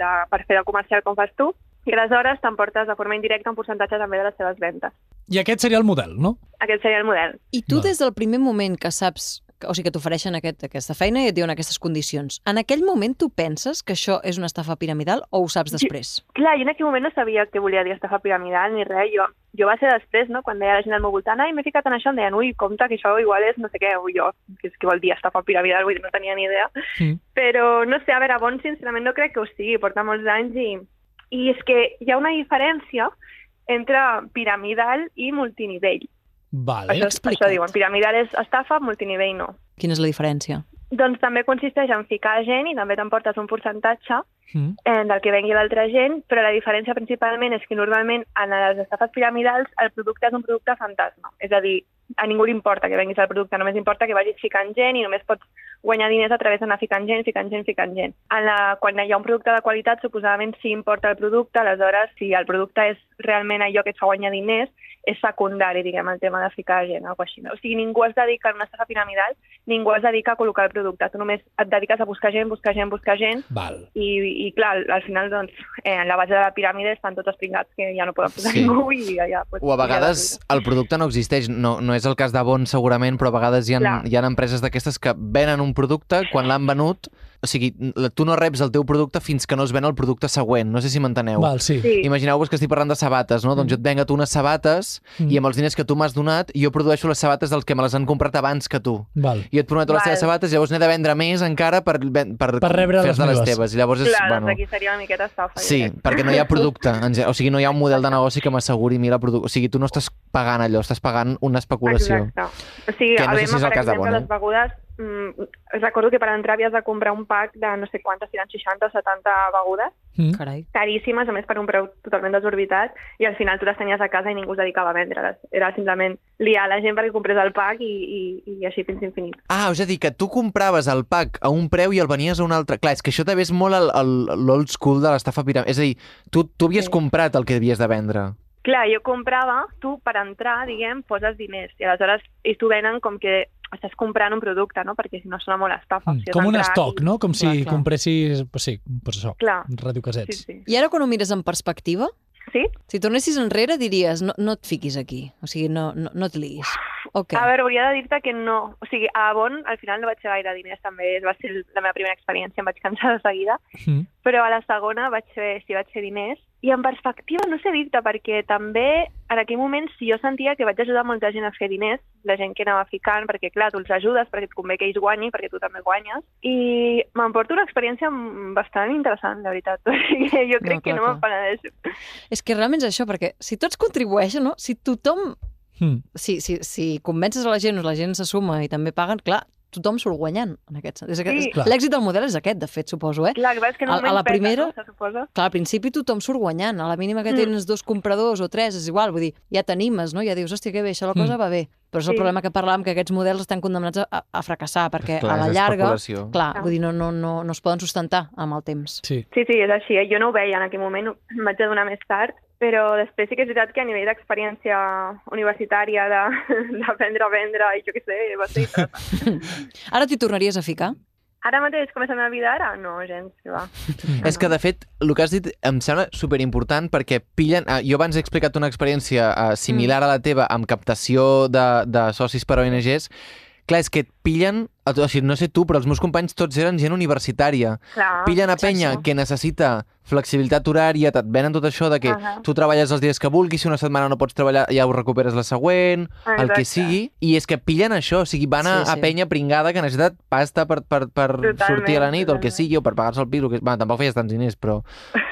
I: de, per fer de comercial com fas tu, i aleshores t'emportes de forma indirecta un percentatge també de les seves ventes.
C: I aquest seria el model, no?
I: Aquest seria el model.
A: I tu,
C: Val.
A: des del primer moment que saps que- o sigui, que t'ofereixen aquest, aquesta feina i et diuen aquestes condicions. En aquell moment tu penses que això és una estafa piramidal o ho saps després?
I: Clar, jo en aquell moment no sabia que volia dir estafa piramidal ni res. Jo, jo va ser després, no?, quan deia la gent al meu voltant i m'he ficat en això, em deien, ui, compte, que això igual és no sé què, ui, jo, que és que vol dir estafa piramidal, vull dir, no tenia ni idea.
C: Mm.
I: Però, no sé, a veure, bon, sincerament, no crec que ho sigui, porta molts anys i... I és que hi ha una diferència entre piramidal i multinivell.
C: Vale.
I: això,
A: explica't.
I: això diuen, piramidal és estafa, multinivell no.
A: Quina és la diferència?
I: Doncs també consisteix en ficar gent i també t'emportes un percentatge
C: Mm.
I: eh, del que vengui l'altra gent, però la diferència principalment és que normalment en les estafes piramidals el producte és un producte fantasma. És a dir, a ningú li importa que venguis el producte, només importa que vagis ficant gent i només pots guanyar diners a través d'anar ficant gent, ficant gent, ficant gent. En la, quan hi ha un producte de qualitat, suposadament sí importa el producte, aleshores, si el producte és realment allò que et fa guanyar diners, és secundari, diguem, el tema de ficar gent o alguna cosa així. O sigui, ningú es dedica a una estafa piramidal, ningú es dedica a col·locar el producte. Tu només et dediques a buscar gent, buscar gent, buscar gent,
C: Val.
I: i, i clar, al final, doncs, eh, en la base de la piràmide estan tots els pringats que ja no poden posar
B: Sí.
I: sí. ningú i ja... ja pues,
B: O a vegades el producte no existeix, no, no és el cas de Bon segurament, però a vegades hi ha,
I: Clar.
B: hi ha empreses d'aquestes que venen un producte, quan l'han venut, o sigui, la- tu no reps el teu producte fins que no es ven el producte següent, no sé si m'enteneu.
C: Val, sí.
I: Sí,
B: Imagineu-vos que estic parlant de sabates, no? Doncs jo et venc a tu unes sabates
C: Mm.
B: i amb els diners que tu m'has donat jo produeixo les sabates dels que me les han comprat abans que tu.
C: Val.
B: Jo et prometo les
I: Val.
B: teves sabates, llavors n'he de vendre més encara per, ven- per,
C: Per rebre
B: fer-te
C: les
B: les
C: meves.
B: teves. I llavors és,
I: clar, doncs
B: bueno,
I: aquí seria una miqueta estafa. jo
B: Sí,
I: crec.
B: perquè no hi ha producte, en ge- o sigui, no hi ha un model de negoci que m'asseguri a mi la producció. O sigui, tu no estàs pagant allò, estàs pagant una especulació.
I: Exacte. O sigui,
B: Que
I: a
B: no sé
I: Bema,
B: si és el
I: per
B: cas de
I: exemple,
B: Bona.
I: les begudes... Mm, recordo que per entrar havies de comprar un pack de no sé quantes, si eren 60 o 70 begudes,
C: Mm.
A: Carai.
I: caríssimes, a més per un preu totalment desorbitat, i al final tu les tenies a casa i ningú es dedicava a vendre-les. Era simplement liar la gent perquè comprés el pack i, i, i així fins infinit.
B: Ah, és a dir, que tu compraves el pack a un preu i el venies a un altre. Clar, és que això també és molt el- el- l'old school de l'estafa piramidal. És a dir, tu, tu havies
I: Sí.
B: comprat el que havies de vendre.
I: Clar, jo comprava, tu per entrar, diguem, poses diners, i aleshores ells t'ho venen com que estàs comprant un producte, no? Perquè si no sona molt estafa.
C: Mm.
I: si és
C: Com un
I: entrar
C: estoc,
I: i-
C: no? Com si
A: Clar, clar.
C: compressis... Pues sí, pues això,
I: Clar, sí,
C: radiocasets.
I: sí.
A: I ara quan ho mires en perspectiva,
I: Sí?
A: si tornessis enrere diries no, no et fiquis aquí, o sigui, no, no, no et liguis. Ok.
I: A veure, hauria de dir-te que no... O sigui, a Bon al final no vaig fer gaire diners, també va ser la meva primera experiència, em vaig cansar de seguida,
C: Mm.
I: però a la segona vaig fer, sí, vaig fer diners, I en perspectiva no sé dir-te, perquè també en aquell moment, si jo sentia que vaig ajudar molta gent a fer diners, la gent que anava ficant, perquè clar, tu els ajudes, perquè et convé que ells guanyi, perquè tu també guanyes, i m'emporto una experiència mm, bastant interessant, la veritat. O sigui, jo
A: No,
I: crec que
A: clar,
I: no me'n penedeixo.
A: És que realment és això, perquè si tots contribueixen, no? si tothom...
C: Hmm.
A: Si, si, si convences a la gent, o la gent se suma i també paguen, clar, tothom surt guanyant en aquest sentit. És aquest-
I: Sí.
C: Clar.
A: L'èxit del model és aquest, de fet, suposo, eh?
I: Clar, que és que
A: A-
I: en un
A: a
I: moment
A: la
I: peta,
A: primera-
I: no? se suposa.
A: Clar, al principi tothom surt guanyant. A la mínima que
I: Mm.
A: tens dos compradors o tres, és igual. Vull dir, ja t'animes, no? Ja dius, hòstia, que bé, això la
B: Mm.
A: cosa va bé. Però és el
I: Sí.
A: problema que parlàvem, que aquests models estan condemnats a, a- a fracassar, perquè a la
B: és
A: llarga...
B: especulació.
A: Clar,
I: Ah.
A: vull dir, no, no, no, no es poden sustentar amb el temps.
C: Sí.
I: Sí, sí, és així. eh? Jo no ho veia en aquell moment, em vaig adonar més tard, però després sí que és veritat que a nivell d'experiència universitària, de- d'aprendre a vendre, i jo què sé, va ser interessant.
A: Ara t'hi tornaries a ficar?
I: Ara mateix, com és la meva vida ara? No, gens, que va.
B: És que, de fet, el que has dit em sembla superimportant perquè pillen... eh, jo abans he explicat una experiència eh, similar a la teva amb captació de, de socis per a ONGs. Clar, és que et pillen... a tu- O sigui, no sé tu, però els meus companys tots eren gent universitària.
I: Clar,
B: pillen a
A: és
B: penya
A: això.
B: que necessita flexibilitat horària, te't venen tot això de que
I: Ahà.
B: tu treballes els dies que vulguis, si una setmana no pots treballar ja ho recuperes la següent, el que
I: exacte.
B: sigui, i és que pillen això, o sigui, van a,
A: Sí, sí.
B: a penya pringada que necessita pasta per, per, per
I: Totalment,
B: sortir a la nit o el que
I: totalment.
B: sigui, o per pagar-se el pis, o que... Bueno, tampoc feies tants diners, però,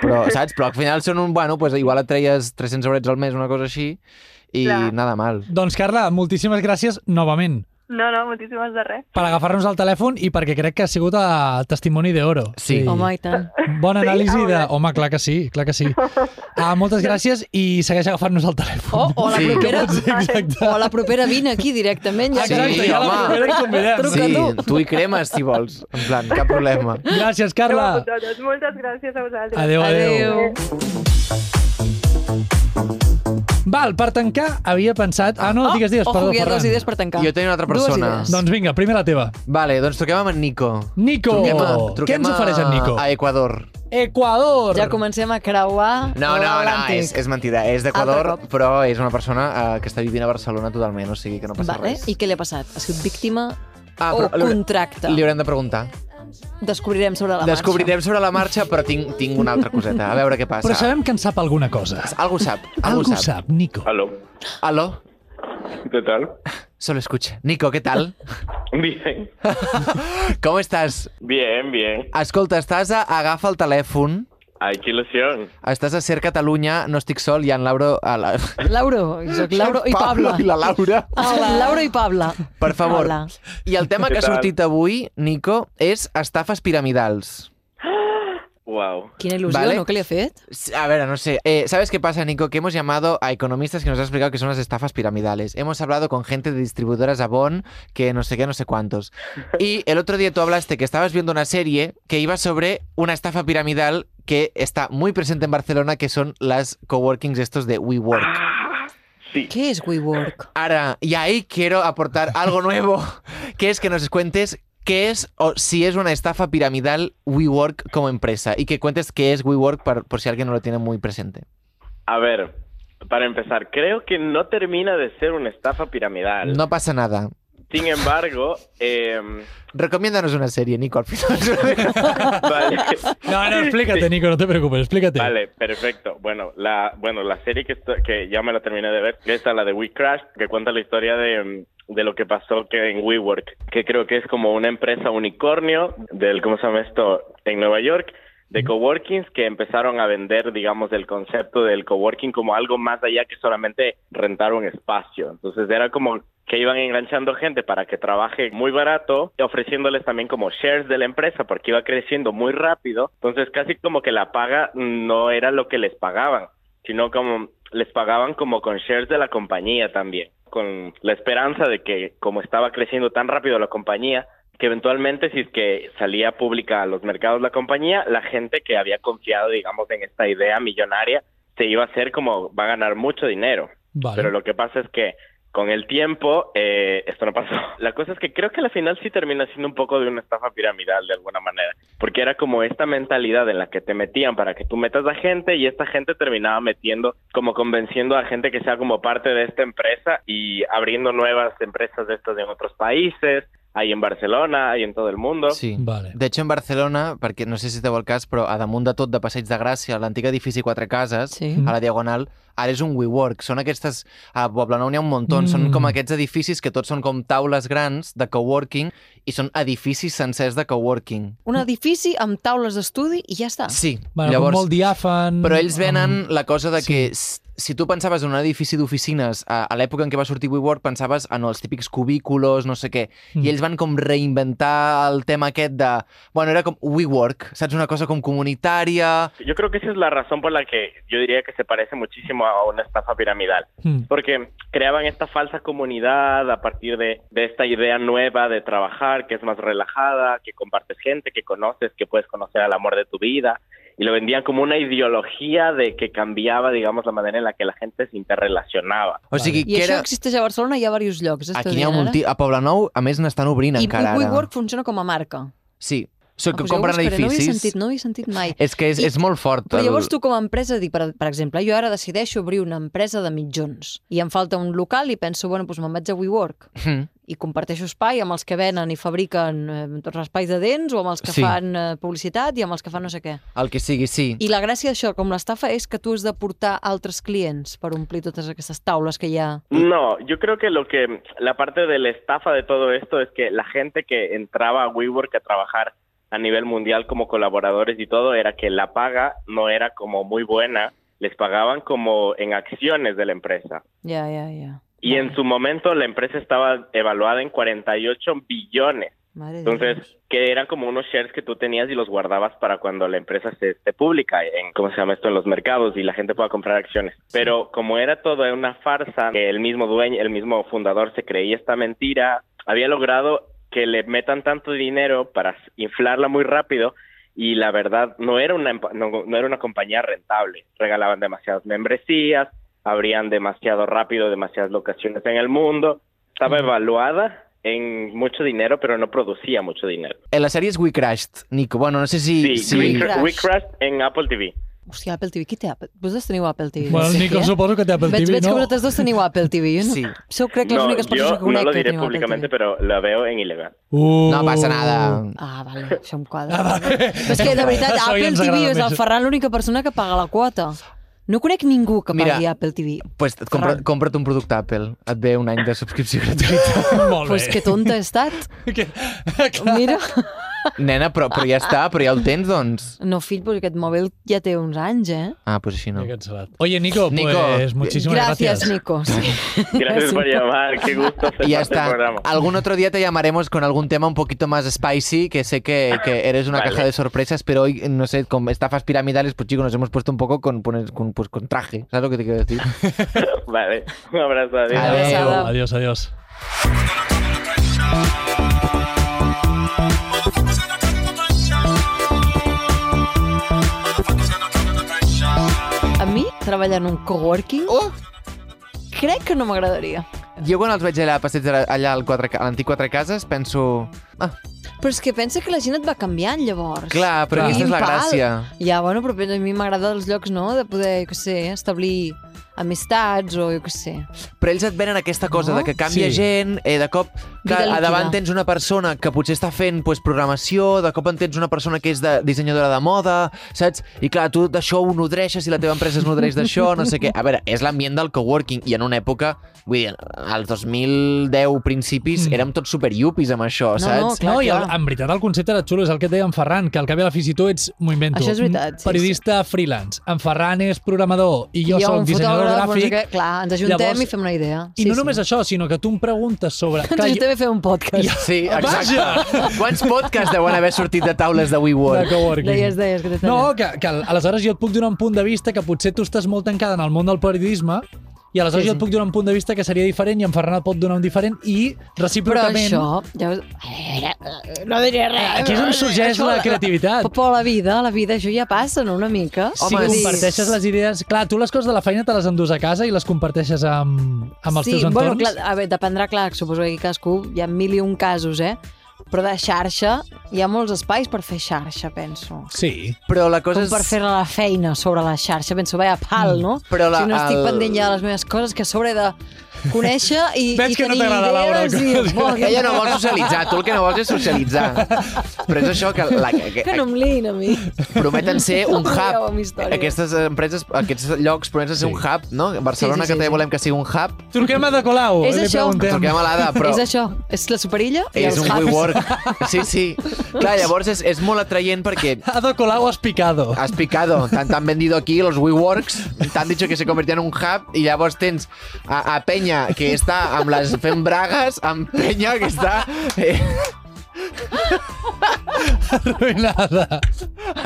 B: però saps? Però al final són un... Bueno, pues, igual et treies 300 eurets al mes, una cosa així, i
I: Clar.
B: nada mal.
C: Doncs, Carla, moltíssimes gràcies novament
I: No, no, moltíssimes de res.
C: per agafar-nos el telèfon i perquè crec que ha sigut a testimoni d'oro.
B: Sí.
A: Home, i tant.
C: Bon anàlisi
I: Sí,
C: de...
I: a veure.
C: Home, clar que sí, clar que sí. Ah, moltes gràcies i segueix agafant-nos el
A: O,
C: telèfon.
A: Oh, o a la
B: Sí.
A: propera...
C: Exacte.
A: O a la propera vine aquí directament. Ja
B: Ah, Sí,
A: que-
C: Exacte, ja la
B: home.
C: propera et convidem.
A: Truca
B: sí,
A: tu.
B: tu hi cremes, si vols. En plan, cap problema.
C: Gràcies,
I: Adéu a
C: Carla.
I: vosaltres. Moltes gràcies a vosaltres.
C: Adéu, adéu.
A: Adéu.
C: Val, per tancar havia pensat... Ah, no, digues, digues,
A: oh,
C: perdó,
A: ojo, que hi ha
C: Ferran.
A: dues idees per tancar.
B: Jo tenia una altra persona.
A: Dues idees.
C: Doncs vinga, primer la teva.
B: Vale, doncs truquem amb en Nico.
C: Nico,
B: Truquem a, truquem
C: què ens ofereix en Nico?
B: A Equador.
C: Equador!
A: Ja comencem a creuar
B: No, no, no,
A: l'Atlàntic.
B: és, és mentida. És d'Equador,
A: Altre cop.
B: però és una persona eh, que està vivint a Barcelona totalment, o sigui que no passa
A: Vale,
B: res.
A: i què li ha passat? Ha sigut víctima
B: Ah,
A: o
B: però li haurem-
A: contracte?
B: Li haurem de preguntar.
A: Descobrirem sobre la
B: Descobrirem sobre la marxa, però tinc, tinc una altra coseta. A veure què passa.
C: Però sabem que en sap alguna cosa.
B: Algú sap. Algú,
C: Algo sap, Nico.
H: Aló,
B: Aló?
H: ¿qué tal?
B: Solo escucha. Nico, què tal?
H: Bien,
B: Com estàs?
H: bien, bien.
B: Escolta, estàs a Agafa el telèfon,
H: Ay, qué ilusión.
B: estàs a Ser Catalunya, no estic sol, hi ha en Lauro... A la...
A: marxa. Lauro, soc Lauro i Pablo.
B: i la Laura.
A: Ah, Hola. Lauro i Pablo.
B: Per favor.
A: Hola.
B: I el tema que ha
H: Què tal?
B: sortit avui, Nico, és estafes piramidals.
H: Wow.
A: Quina il·lusió,
B: Vale.
A: no?, que li ha fet.
B: Sí, A ver, no sé. Eh, ¿Sabes qué pasa, Nico? Que hemos llamado a economistas que nos han explicado que son las estafas piramidales. Hemos hablado con gente de distribuidoras Avon, que no sé qué, no sé cuántos. Y el otro día tú hablaste que estabas viendo una serie que iba sobre una estafa piramidal que está muy presente en Barcelona, que son las coworkings estos de WeWork.
H: Sí.
A: Què és WeWork?
B: Ahora, y ahí quiero aportar algo nuevo, que es que nos cuentes qué es o si es una estafa piramidal WeWork como empresa y que cuentes qué es WeWork por, por si alguien no lo tiene muy presente.
H: A ver, para empezar, creo que no termina de ser una estafa piramidal.
B: No pasa nada.
H: Sin embargo, em,
B: Recomiéndanos una serie, Nico, al final.
H: vale.
C: No, no, explícate, Nico, no te preocupes, explícate.
H: Vale, perfecto. Bueno, la bueno la serie que, esto- que ya me la terminé de ver, esta la de We Crash, que cuenta la historia de, mm, de lo que pasó que en WeWork, que creo que es como una empresa unicornio del cómo se llama esto en Nueva York de coworkings que empezaron a vender, digamos, el concepto del coworking como algo más allá que solamente rentar un espacio. Entonces era como que iban enganchando gente para que trabaje muy barato, y ofreciéndoles también como shares de la empresa porque iba creciendo muy rápido. Entonces casi como que la paga no era lo que les pagaban, sino como les pagaban como con shares de la compañía también, con la esperanza de que como estaba creciendo tan rápido la compañía, que eventualmente si es que salía pública a los mercados la compañía, la gente que había confiado, digamos, en esta idea millonaria, se iba a hacer como va a ganar mucho dinero.
C: Vale.
H: Pero lo que pasa es que con el tiempo eh, esto no pasó. La cosa es que creo que al final sí termina siendo un poco de una estafa piramidal de alguna manera, porque era como esta mentalidad en la que te metían para que tú metas a gente y esta gente terminaba metiendo, como convenciendo a gente que sea como parte de esta empresa y abriendo nuevas empresas de estas en otros países, Hay en Barcelona, hay en todo el mundo.
B: Sí.
C: Vale.
B: De hecho, en Barcelona, perquè no sé si esteu al cas, però a damunt de tot de Passeig de Gràcia, a l'antic edifici Quatre Cases,
A: Sí.
B: a la Diagonal, ara és un WeWork. Són aquestes... A Poblenou n'hi ha un muntó. Mm. Són
C: Mm.
B: com aquests edificis que tots són com taules grans de coworking i són edificis sencers de coworking.
A: Un edifici amb taules d'estudi i ja està.
B: Sí,
C: Bueno, Llavors, molt diàfan...
B: Però ells venen
C: amb-
B: la cosa de
C: sí.
B: que s- si tu pensaves en un edifici d'oficines a, a l'època en què va sortir WeWork, pensaves en els típics cubículos, no sé què,
C: Mm.
B: mm. i ells van com reinventar el tema aquest de... Bueno, era com WeWork, saps? Una cosa com comunitària...
H: Yo creo que esa es la razón por la que yo diría que se parece muchísimo a una estafa piramidal.
C: Mm.
H: porque creaban esta falsa comunidad a partir de, de esta idea nueva de trabajar, que es más relajada, que compartes gente, que conoces, que puedes conocer al amor de tu vida, y lo vendían como una ideología de que cambiaba, digamos, la manera en la que la gente se interrelacionaba.
B: O sigui,
A: I
B: que
A: això
B: era...
A: existeix a Barcelona i a diversos llocs. estàs
B: Aquí n'hi ha
A: dient
B: un
A: ara?
B: multi... A Poblenou, a més, n'estan obrint
A: I
B: encara ara.
A: WeWork funciona com a marca.
B: Sí, so,
A: Ah,
B: que
A: doncs jo ho
B: compren
A: buscaré, No ho havia
B: edificis...
A: sentit, no ho havia sentit mai.
B: És que és,
A: I-
B: és molt fort.
A: Però
B: el-
A: llavors tu com a empresa, dic, per, per exemple, jo ara decideixo obrir una empresa de mitjons i em falta un local i penso, bueno, doncs me'n vaig a WeWork
B: Mm.
A: i comparteixo espai amb els que venen i fabriquen eh, doncs, espais de dents o amb els que
B: Sí.
A: fan eh, publicitat i amb els que fan no sé què.
B: El que sigui, sí.
A: I la gràcia d'això, com l'estafa, és que tu has de portar altres clients per omplir totes aquestes taules que hi ha.
H: No, yo creo que lo que la parte de la estafa de todo esto es que la gente que entraba a WeWork a trabajar a nivel mundial como colaboradores y todo era que la paga no era como muy buena, les pagaban como en acciones de la empresa.
A: Ja, ja, ja.
H: Y en su momento la empresa estaba evaluada en 48 billones.
A: Mare de
H: Entonces,
A: Déu.
H: que eran como unos shares que tú tenías y los guardabas para cuando la empresa se esté pública, en, ¿cómo se llama esto?, en los mercados y la gente pueda comprar acciones. Pero como era toda una farsa, que el mismo dueño, el mismo fundador se creía esta mentira, había logrado que le metan tanto dinero para inflarla muy rápido y la verdad no era una empa- no, no era una compañía rentable. Regalaban demasiadas membresías, abrían demasiado rápido demasiadas locaciones en el mundo. Estaba evaluada en mucho dinero, pero no producía mucho dinero.
B: Eh, La sèrie és We Crashed, Nico. Bueno, no sé si...
H: Sí, We,
A: Crashed.
H: Cra- We Crashed en Apple TV.
A: Hòstia, Apple TV, qui té Apple? Vosaltres teniu Apple TV?
C: Bueno,
A: no sé
C: Nico,
A: qui, eh?
C: suposo que té Apple
A: veig,
C: TV,
A: veig
C: no?
A: que vosaltres dos teniu Apple TV. Jo no,
B: Sí.
A: Sou, crec, les
H: No,
A: úniques persones
H: yo
A: que conec
H: no lo
A: que
H: diré
A: teniu Apple TV.
H: públicamente, pero la veo en ilegal.
C: Uh.
B: No passa nada.
A: Ah, vale, això em quadra.
C: Ah, vale.
A: És que, de veritat,
C: Això ja
A: Apple
C: ens
A: TV
C: agrada
A: és el
C: més.
A: Ferran l'única persona que paga la quota. No conec ningú que
B: Mira,
A: pagui Apple TV.
B: pues et compra,
A: Ferran.
B: compra't un producte Apple, et ve un any de subscripció gratuïta.
C: Molt bé.
A: Pues que tonta he estat.
C: Que...
A: Mira.
B: Nena, però, però ja està, però ja el tens, doncs.
A: No, fill, perquè aquest mòbil ja té uns anys, eh?
B: Ah, pues així no.
C: Oye, Nico,
B: Nico,
C: pues muchísimas gracias.
A: Gràcies, Nico. Sí.
H: Gracias por llamar, qué gusto ser
B: I ja
H: parte del
B: està.
H: programa.
B: Algún otro día te llamaremos con algún tema un poquito más spicy, que sé que, que eres una
H: Vale.
B: caja de sorpresas, pero hoy, no sé, con estafas piramidales, pues chicos, nos hemos puesto un poco con, poner- con, pues, con traje. ¿Sabes lo que te quiero decir?
H: Vale, un abrazo, adiós.
B: Adeu.
A: abraçada.
C: Adiós, adiós.
A: A mi, treballar en un coworking,
B: Oh!
A: crec que no m'agradaria.
B: Jo quan els veig allà, a passeig de la- allà al quatre, a l'antic Quatre Cases, penso... Ah,
A: Però és que pensa que la gent et va canviant, llavors.
B: clar, però
A: Clar.
B: aquesta és la
A: Impal.
B: gràcia.
A: Ja, bueno, però a mi m'agrada els llocs, no?, de poder, jo què sé, establir amistats o jo què sé.
B: Però ells et venen aquesta cosa
A: No?
B: de que canvia
C: Sí.
B: gent, eh, de cop que
A: Vida
B: a davant
A: líquida.
B: tens una persona que potser està fent pues, programació, de cop en tens una persona que és de dissenyadora de moda, saps? I clar, tu d'això ho nodreixes i la teva empresa es nodreix d'això, no sé què. A veure, és l'ambient del coworking i en una època, vull dir, als 2010 principis,
C: Mm.
B: érem tots superiupis amb això,
A: No, no,
B: saps?
A: Clar,
C: no, i el,
A: clar.
C: en veritat el concepte era xulo, és el que et deia en Ferran, que al cap i a la fi si tu ets, m'ho invento,
A: Això és veritat, sí,
C: periodista freelance, en Ferran és programador i jo,
A: I
C: soc
A: un fotògraf,
C: dissenyador
A: doncs,
C: gràfic,
A: Que, clar, ens ajuntem
C: Llavors-
A: llavors... i fem una idea.
C: i no només això, sinó que tu em preguntes sobre...
A: Ens
C: Clar, jo-
A: ajuntem a fer un podcast.
B: Sí,
C: Vaja!
B: exacte. Quants podcasts deuen haver sortit de taules de
C: de
B: WeWork?
C: coworking.
A: Deies, deies que t'he
C: No,
A: tallat.
C: que, que aleshores jo et puc donar un punt de vista que potser tu estàs molt tancada en el món del periodisme i aleshores
A: Sí,
C: sí, jo
A: sí.
C: et puc donar un punt de vista que seria diferent i en Ferran et pot donar un diferent i
A: Però
C: recíprocament... eh,
A: això... Ja... eh, us- No diré res.
C: Aquí és on sorgeix
A: Això,
C: la creativitat.
A: Però la vida, la vida, això ja passa, no?, una mica.
C: Si
B: Home,
C: comparteixes les idees... Clar, tu les coses de la feina te les endús a casa i les comparteixes amb, amb els
A: sí,
C: teus entorns.
A: Bueno, clar, a veure, dependrà, clar, suposo que aquí cadascú hi ha mil i un casos, eh? Però de xarxa, hi ha molts espais per fer xarxa, penso.
C: Sí.
B: Però la cosa
A: Com
B: és...
A: per fer la feina sobre la xarxa, penso, veia, pal, no?
B: Mm. Però la-
A: si no estic
B: el-
A: pendent ja de les meves coses, que a sobre he de conèixer i,
C: Veig
A: i
C: que no
A: tenir
C: t'agrada, Laura, el
A: idees.
C: que
A: i, bo,
B: Ella no vol socialitzar, tu el que no vols és socialitzar. Però és això que, la, que,
J: Que no em liïn a mi.
B: prometen ser un
J: No
B: hub.
J: voleu amb històries.
B: Aquestes empreses, aquests llocs prometen ser un hub, no? Barcelona, sí, sí, sí, que també volem que sigui un hub.
C: Truquem a De Colau,
A: És
C: li
A: això.
C: preguntem.
B: Truquem a l'Ada, però...
A: És això, és la superilla i
B: És
A: els
B: un
A: hubs.
B: WeWork. Sí, sí. Clar, llavors és, és molt atraient perquè
C: Ada Colau has picado.
B: has picado. T'han t'han vendido aquí los WeWorks, t'han dicho que se convertien en un hub i llavors tens a, a Penya que està amb les fent bragues, amb Penya que està eh,
C: Arruïnada.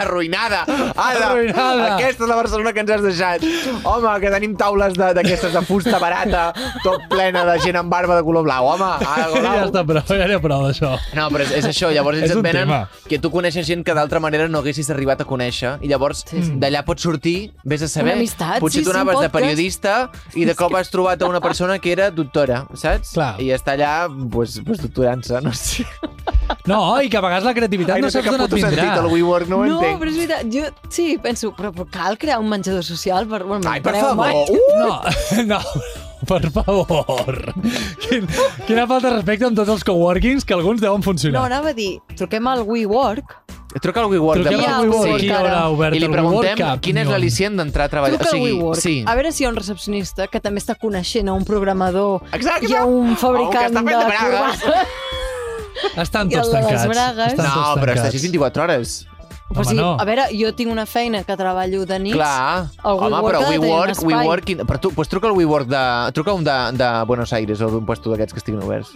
B: arruïnada. Ada,
C: Arruïnada.
B: aquesta és la Barcelona que ens has deixat. Home, que tenim taules de- d'aquestes de, de fusta barata, tot plena de gent amb barba de color blau. Home, Ada Colau.
C: Ja està prou, ja n'hi ha prou d'això.
B: No, però és, és això, llavors ells et
C: És un
B: venen
C: tema.
B: que tu coneixes gent que d'altra manera no haguessis arribat a conèixer i llavors sí, sí. d'allà pots sortir, vés a saber,
J: Una amistat,
B: potser
J: sí,
B: tu
J: sí, un
B: anaves de
J: podcast.
B: periodista i de cop has trobat a una persona que era doctora, saps?
C: Clar.
B: I està allà, pues, pues doctorant-se, no sé.
C: No, i que a vegades la creativitat
B: Ai,
C: no,
B: no sé
C: saps
B: cap
C: d'on et
B: puto
C: vindrà.
B: sentit el WeWork, no ho
A: No,
B: entenc.
A: però és veritat, jo sí, penso, però, però cal crear un menjador social per... Bueno,
B: Ai, per
A: perdoneu-me.
B: favor!
C: No, no, per favor. Quin, quina falta de respecte amb tots els coworkings que alguns deuen
A: No,
C: funcionar.
A: anava a dir, truquem al WeWork.
B: Uh! Truca al WeWork.
C: Truquem
B: de
A: Ja,
B: Barcelona.
C: al WeWork,
A: sí.
C: qui haurà obert
B: I li
C: el
B: preguntem
C: WeWork? Cap,
B: quin és
C: no.
B: l'al·licient d'entrar a treballar.
A: Truca
B: o sigui,
A: al WeWork.
B: Sí.
A: A veure si hi ha un recepcionista que també està coneixent a un programador
B: Exacte.
A: i a un
B: O
A: fabricant
B: un que està fent de bragues.
A: corbates.
C: Estan
A: I el
C: tots
A: de les
C: tancats.
A: bragues.
C: Estan
B: No,
C: tots
B: però està
C: tancats.
B: així 24 hores.
A: Però
C: Home,
A: sí,
C: no.
A: A veure, jo tinc una feina que treballo de nits.
B: Clar,
A: El
B: home,
A: WeWork
B: però
A: ha de tenir un
B: WeWork,
A: espai.
B: WeWork... quin- Però tu, pues truca al WeWork de... Truca un de, de Buenos Aires o d'un puesto d'aquests que estiguin oberts.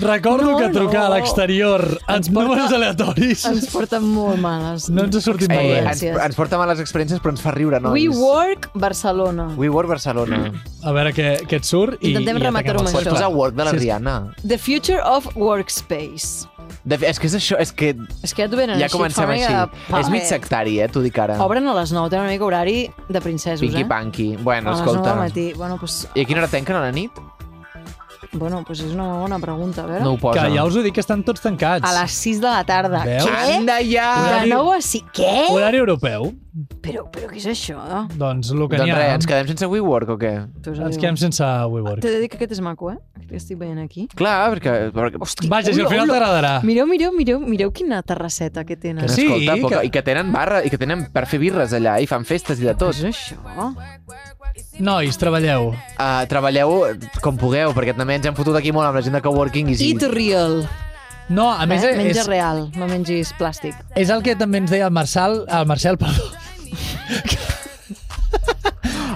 C: Recordo
A: No,
C: que trucar a
A: no.
C: l'exterior
A: Ens
C: ens
A: porta-
C: números aleatoris
A: Ens porten molt males.
C: no ens ha sortit molt
B: Eh,
C: bé.
B: ens,
A: Gràcies.
B: ens porta males experiències, però ens fa riure, nois.
A: WeWork Barcelona.
B: WeWork Barcelona.
C: A veure què, què et surt i,
A: Intentem
C: i
A: rematar-ho amb
B: Pots
A: Això.
B: posar Work de la
C: Sí, és-
B: Rihanna.
A: The Future of Workspace.
B: De, fet, és que és això, és que
A: És que ja t'ho venen
B: ja
A: així.
B: comencem
A: fa una
B: així.
A: mica de
B: És mig
A: paret.
B: sectari, eh, t'ho dic ara.
A: Obren a les 9, tenen una mica horari de princesos,
B: Pinky
A: eh?
B: Panky. Bueno,
A: a les 9
B: escolta.
A: del matí. Bueno, pues,
B: I a quina hora tanquen a la nit?
A: bueno, pues és una molt bona pregunta, a veure.
B: No ho posa.
C: Que ja us ho dic que estan tots tancats.
A: A les 6 de la tarda.
C: Veus?
A: Què?
B: Anda Eh? ja!
A: De
C: Horari-
A: 9 a 6? Què?
C: Horari europeu.
A: Però, però què és això?
C: Doncs el que
B: Doncs
C: n'hi ha.
B: res, ens quedem sense WeWork o què?
A: Tu
C: ens quedem sense WeWork.
A: T'he de dir que aquest és maco, eh? Aquest que estic veient aquí.
B: Clar, perquè... perquè
A: Hosti,
C: Vaja, si al
A: ula,
C: final
A: ula.
C: t'agradarà.
A: Mireu, mireu, mireu, mireu quina terrasseta que tenen.
C: Que sí,
B: escolta, poca,
C: que-
B: I que tenen barra, i que tenen per fer birres allà, i fan festes i de tot.
A: Què és això?
C: Nois, treballeu.
B: Uh, treballeu com pugueu, perquè també ens hem fotut aquí molt amb la gent de coworking i sí.
A: Eat real.
C: No, a més,
A: eh? Menja
C: és,
A: real, no mengis plàstic.
C: és el que també ens deia el Marçal, el Marcel, perdó,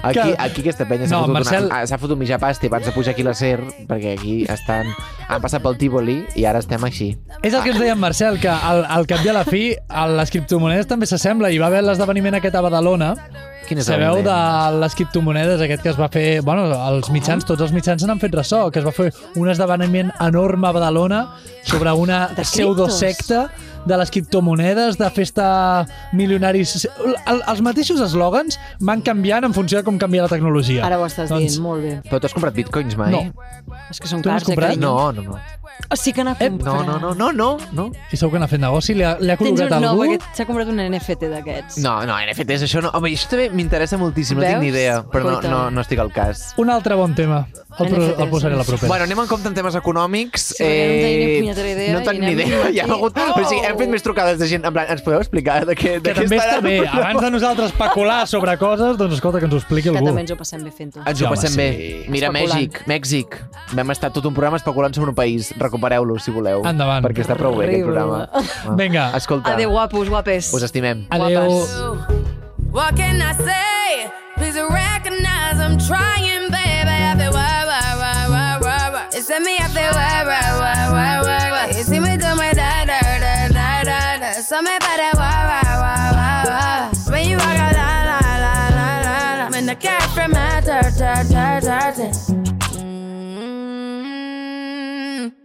B: Aquí,
C: que-
B: aquí aquesta penya s'ha
C: No,
B: no, fotut,
C: Marcel-
B: Marcel... una, ah, s'ha fotut mitja pasta abans de pujar aquí a la SER, perquè aquí estan, han passat pel Tívoli i ara estem així.
C: És el que ens deia en Marcel, que al, al cap i a la fi a les criptomonedes també s'assembla. Hi va haver l'esdeveniment aquest a Badalona,
B: Quin és
C: sabeu,
B: el
C: de
B: moment?
C: les criptomonedes, aquest que es va fer... Bueno, els mitjans, tots els mitjans se n'han fet ressò, que es va fer un esdeveniment enorme a Badalona sobre una
A: De criptos.
C: pseudosecta de les criptomonedes, de festa milionaris... El, els mateixos eslògans van canviant en funció de com canvia la tecnologia.
A: Ara ho estàs dient, molt bé.
B: Però tu has comprat bitcoins mai?
C: No.
A: És que són
C: Doncs Tu n'has
A: cars, eh,
C: comprat?
A: carinyo?
B: No, no, no.
A: Oh, sí que n'ha
C: Ep,
A: comprat.
B: No, no, no, no, no, no.
C: I segur que n'ha fet negoci? Li ha, li ha
A: Tens
C: col·locat
A: un no,
C: algú?
A: perquè s'ha comprat un NFT d'aquests.
B: No, no, NFTs, això no. Home, això també m'interessa moltíssim, no tinc ni
A: Veus?
B: idea, però no,
A: Escolta.
B: no, no estic al cas.
C: Un altre bon tema. El, pro, el posaré a la propera.
B: Bueno, anem en compte en temes econòmics. eh,
A: Sí, perquè no tenim ni punyetera idea
B: No
A: i
B: tenim ni
A: anem
B: idea.
A: aquí.
B: Hi ha hagut...
A: Oh!
B: Oh! Però sí, hem fet més trucades de gent. En plan, ens podeu explicar de què, de
C: que
B: què
C: també
B: estarà
C: està bé.
B: el programa?
C: Abans de nosaltres especular sobre coses, doncs escolta, que ens ho expliqui
A: Que
C: algú.
A: també ens ho passem bé fent-ho.
B: Ens ho
C: Home,
B: passem
C: sí.
B: bé. Mira,
A: Especulant.
B: Mèxic, Mèxic. Vam estar tot un programa especulant sobre un país. Recupereu-lo, si voleu.
C: Endavant.
B: Perquè està prou bé,
A: Horrible.
B: aquest programa. Va.
C: Vinga.
B: Escolta,
A: Adéu, guapos, guapes.
B: us estimem.
C: Adéu.
K: What can I say? Please recognize I'm trying, baby. I feel why, why, why, why, why, why. It's send me, I feel why, why, why, why, why, why. You see me do my da, da, da, da, da, da. So me about that why, why, why, why, why. When you walk out, la, la, la, la, la, la. When the cat from my tur, tur, tur, tur, tur.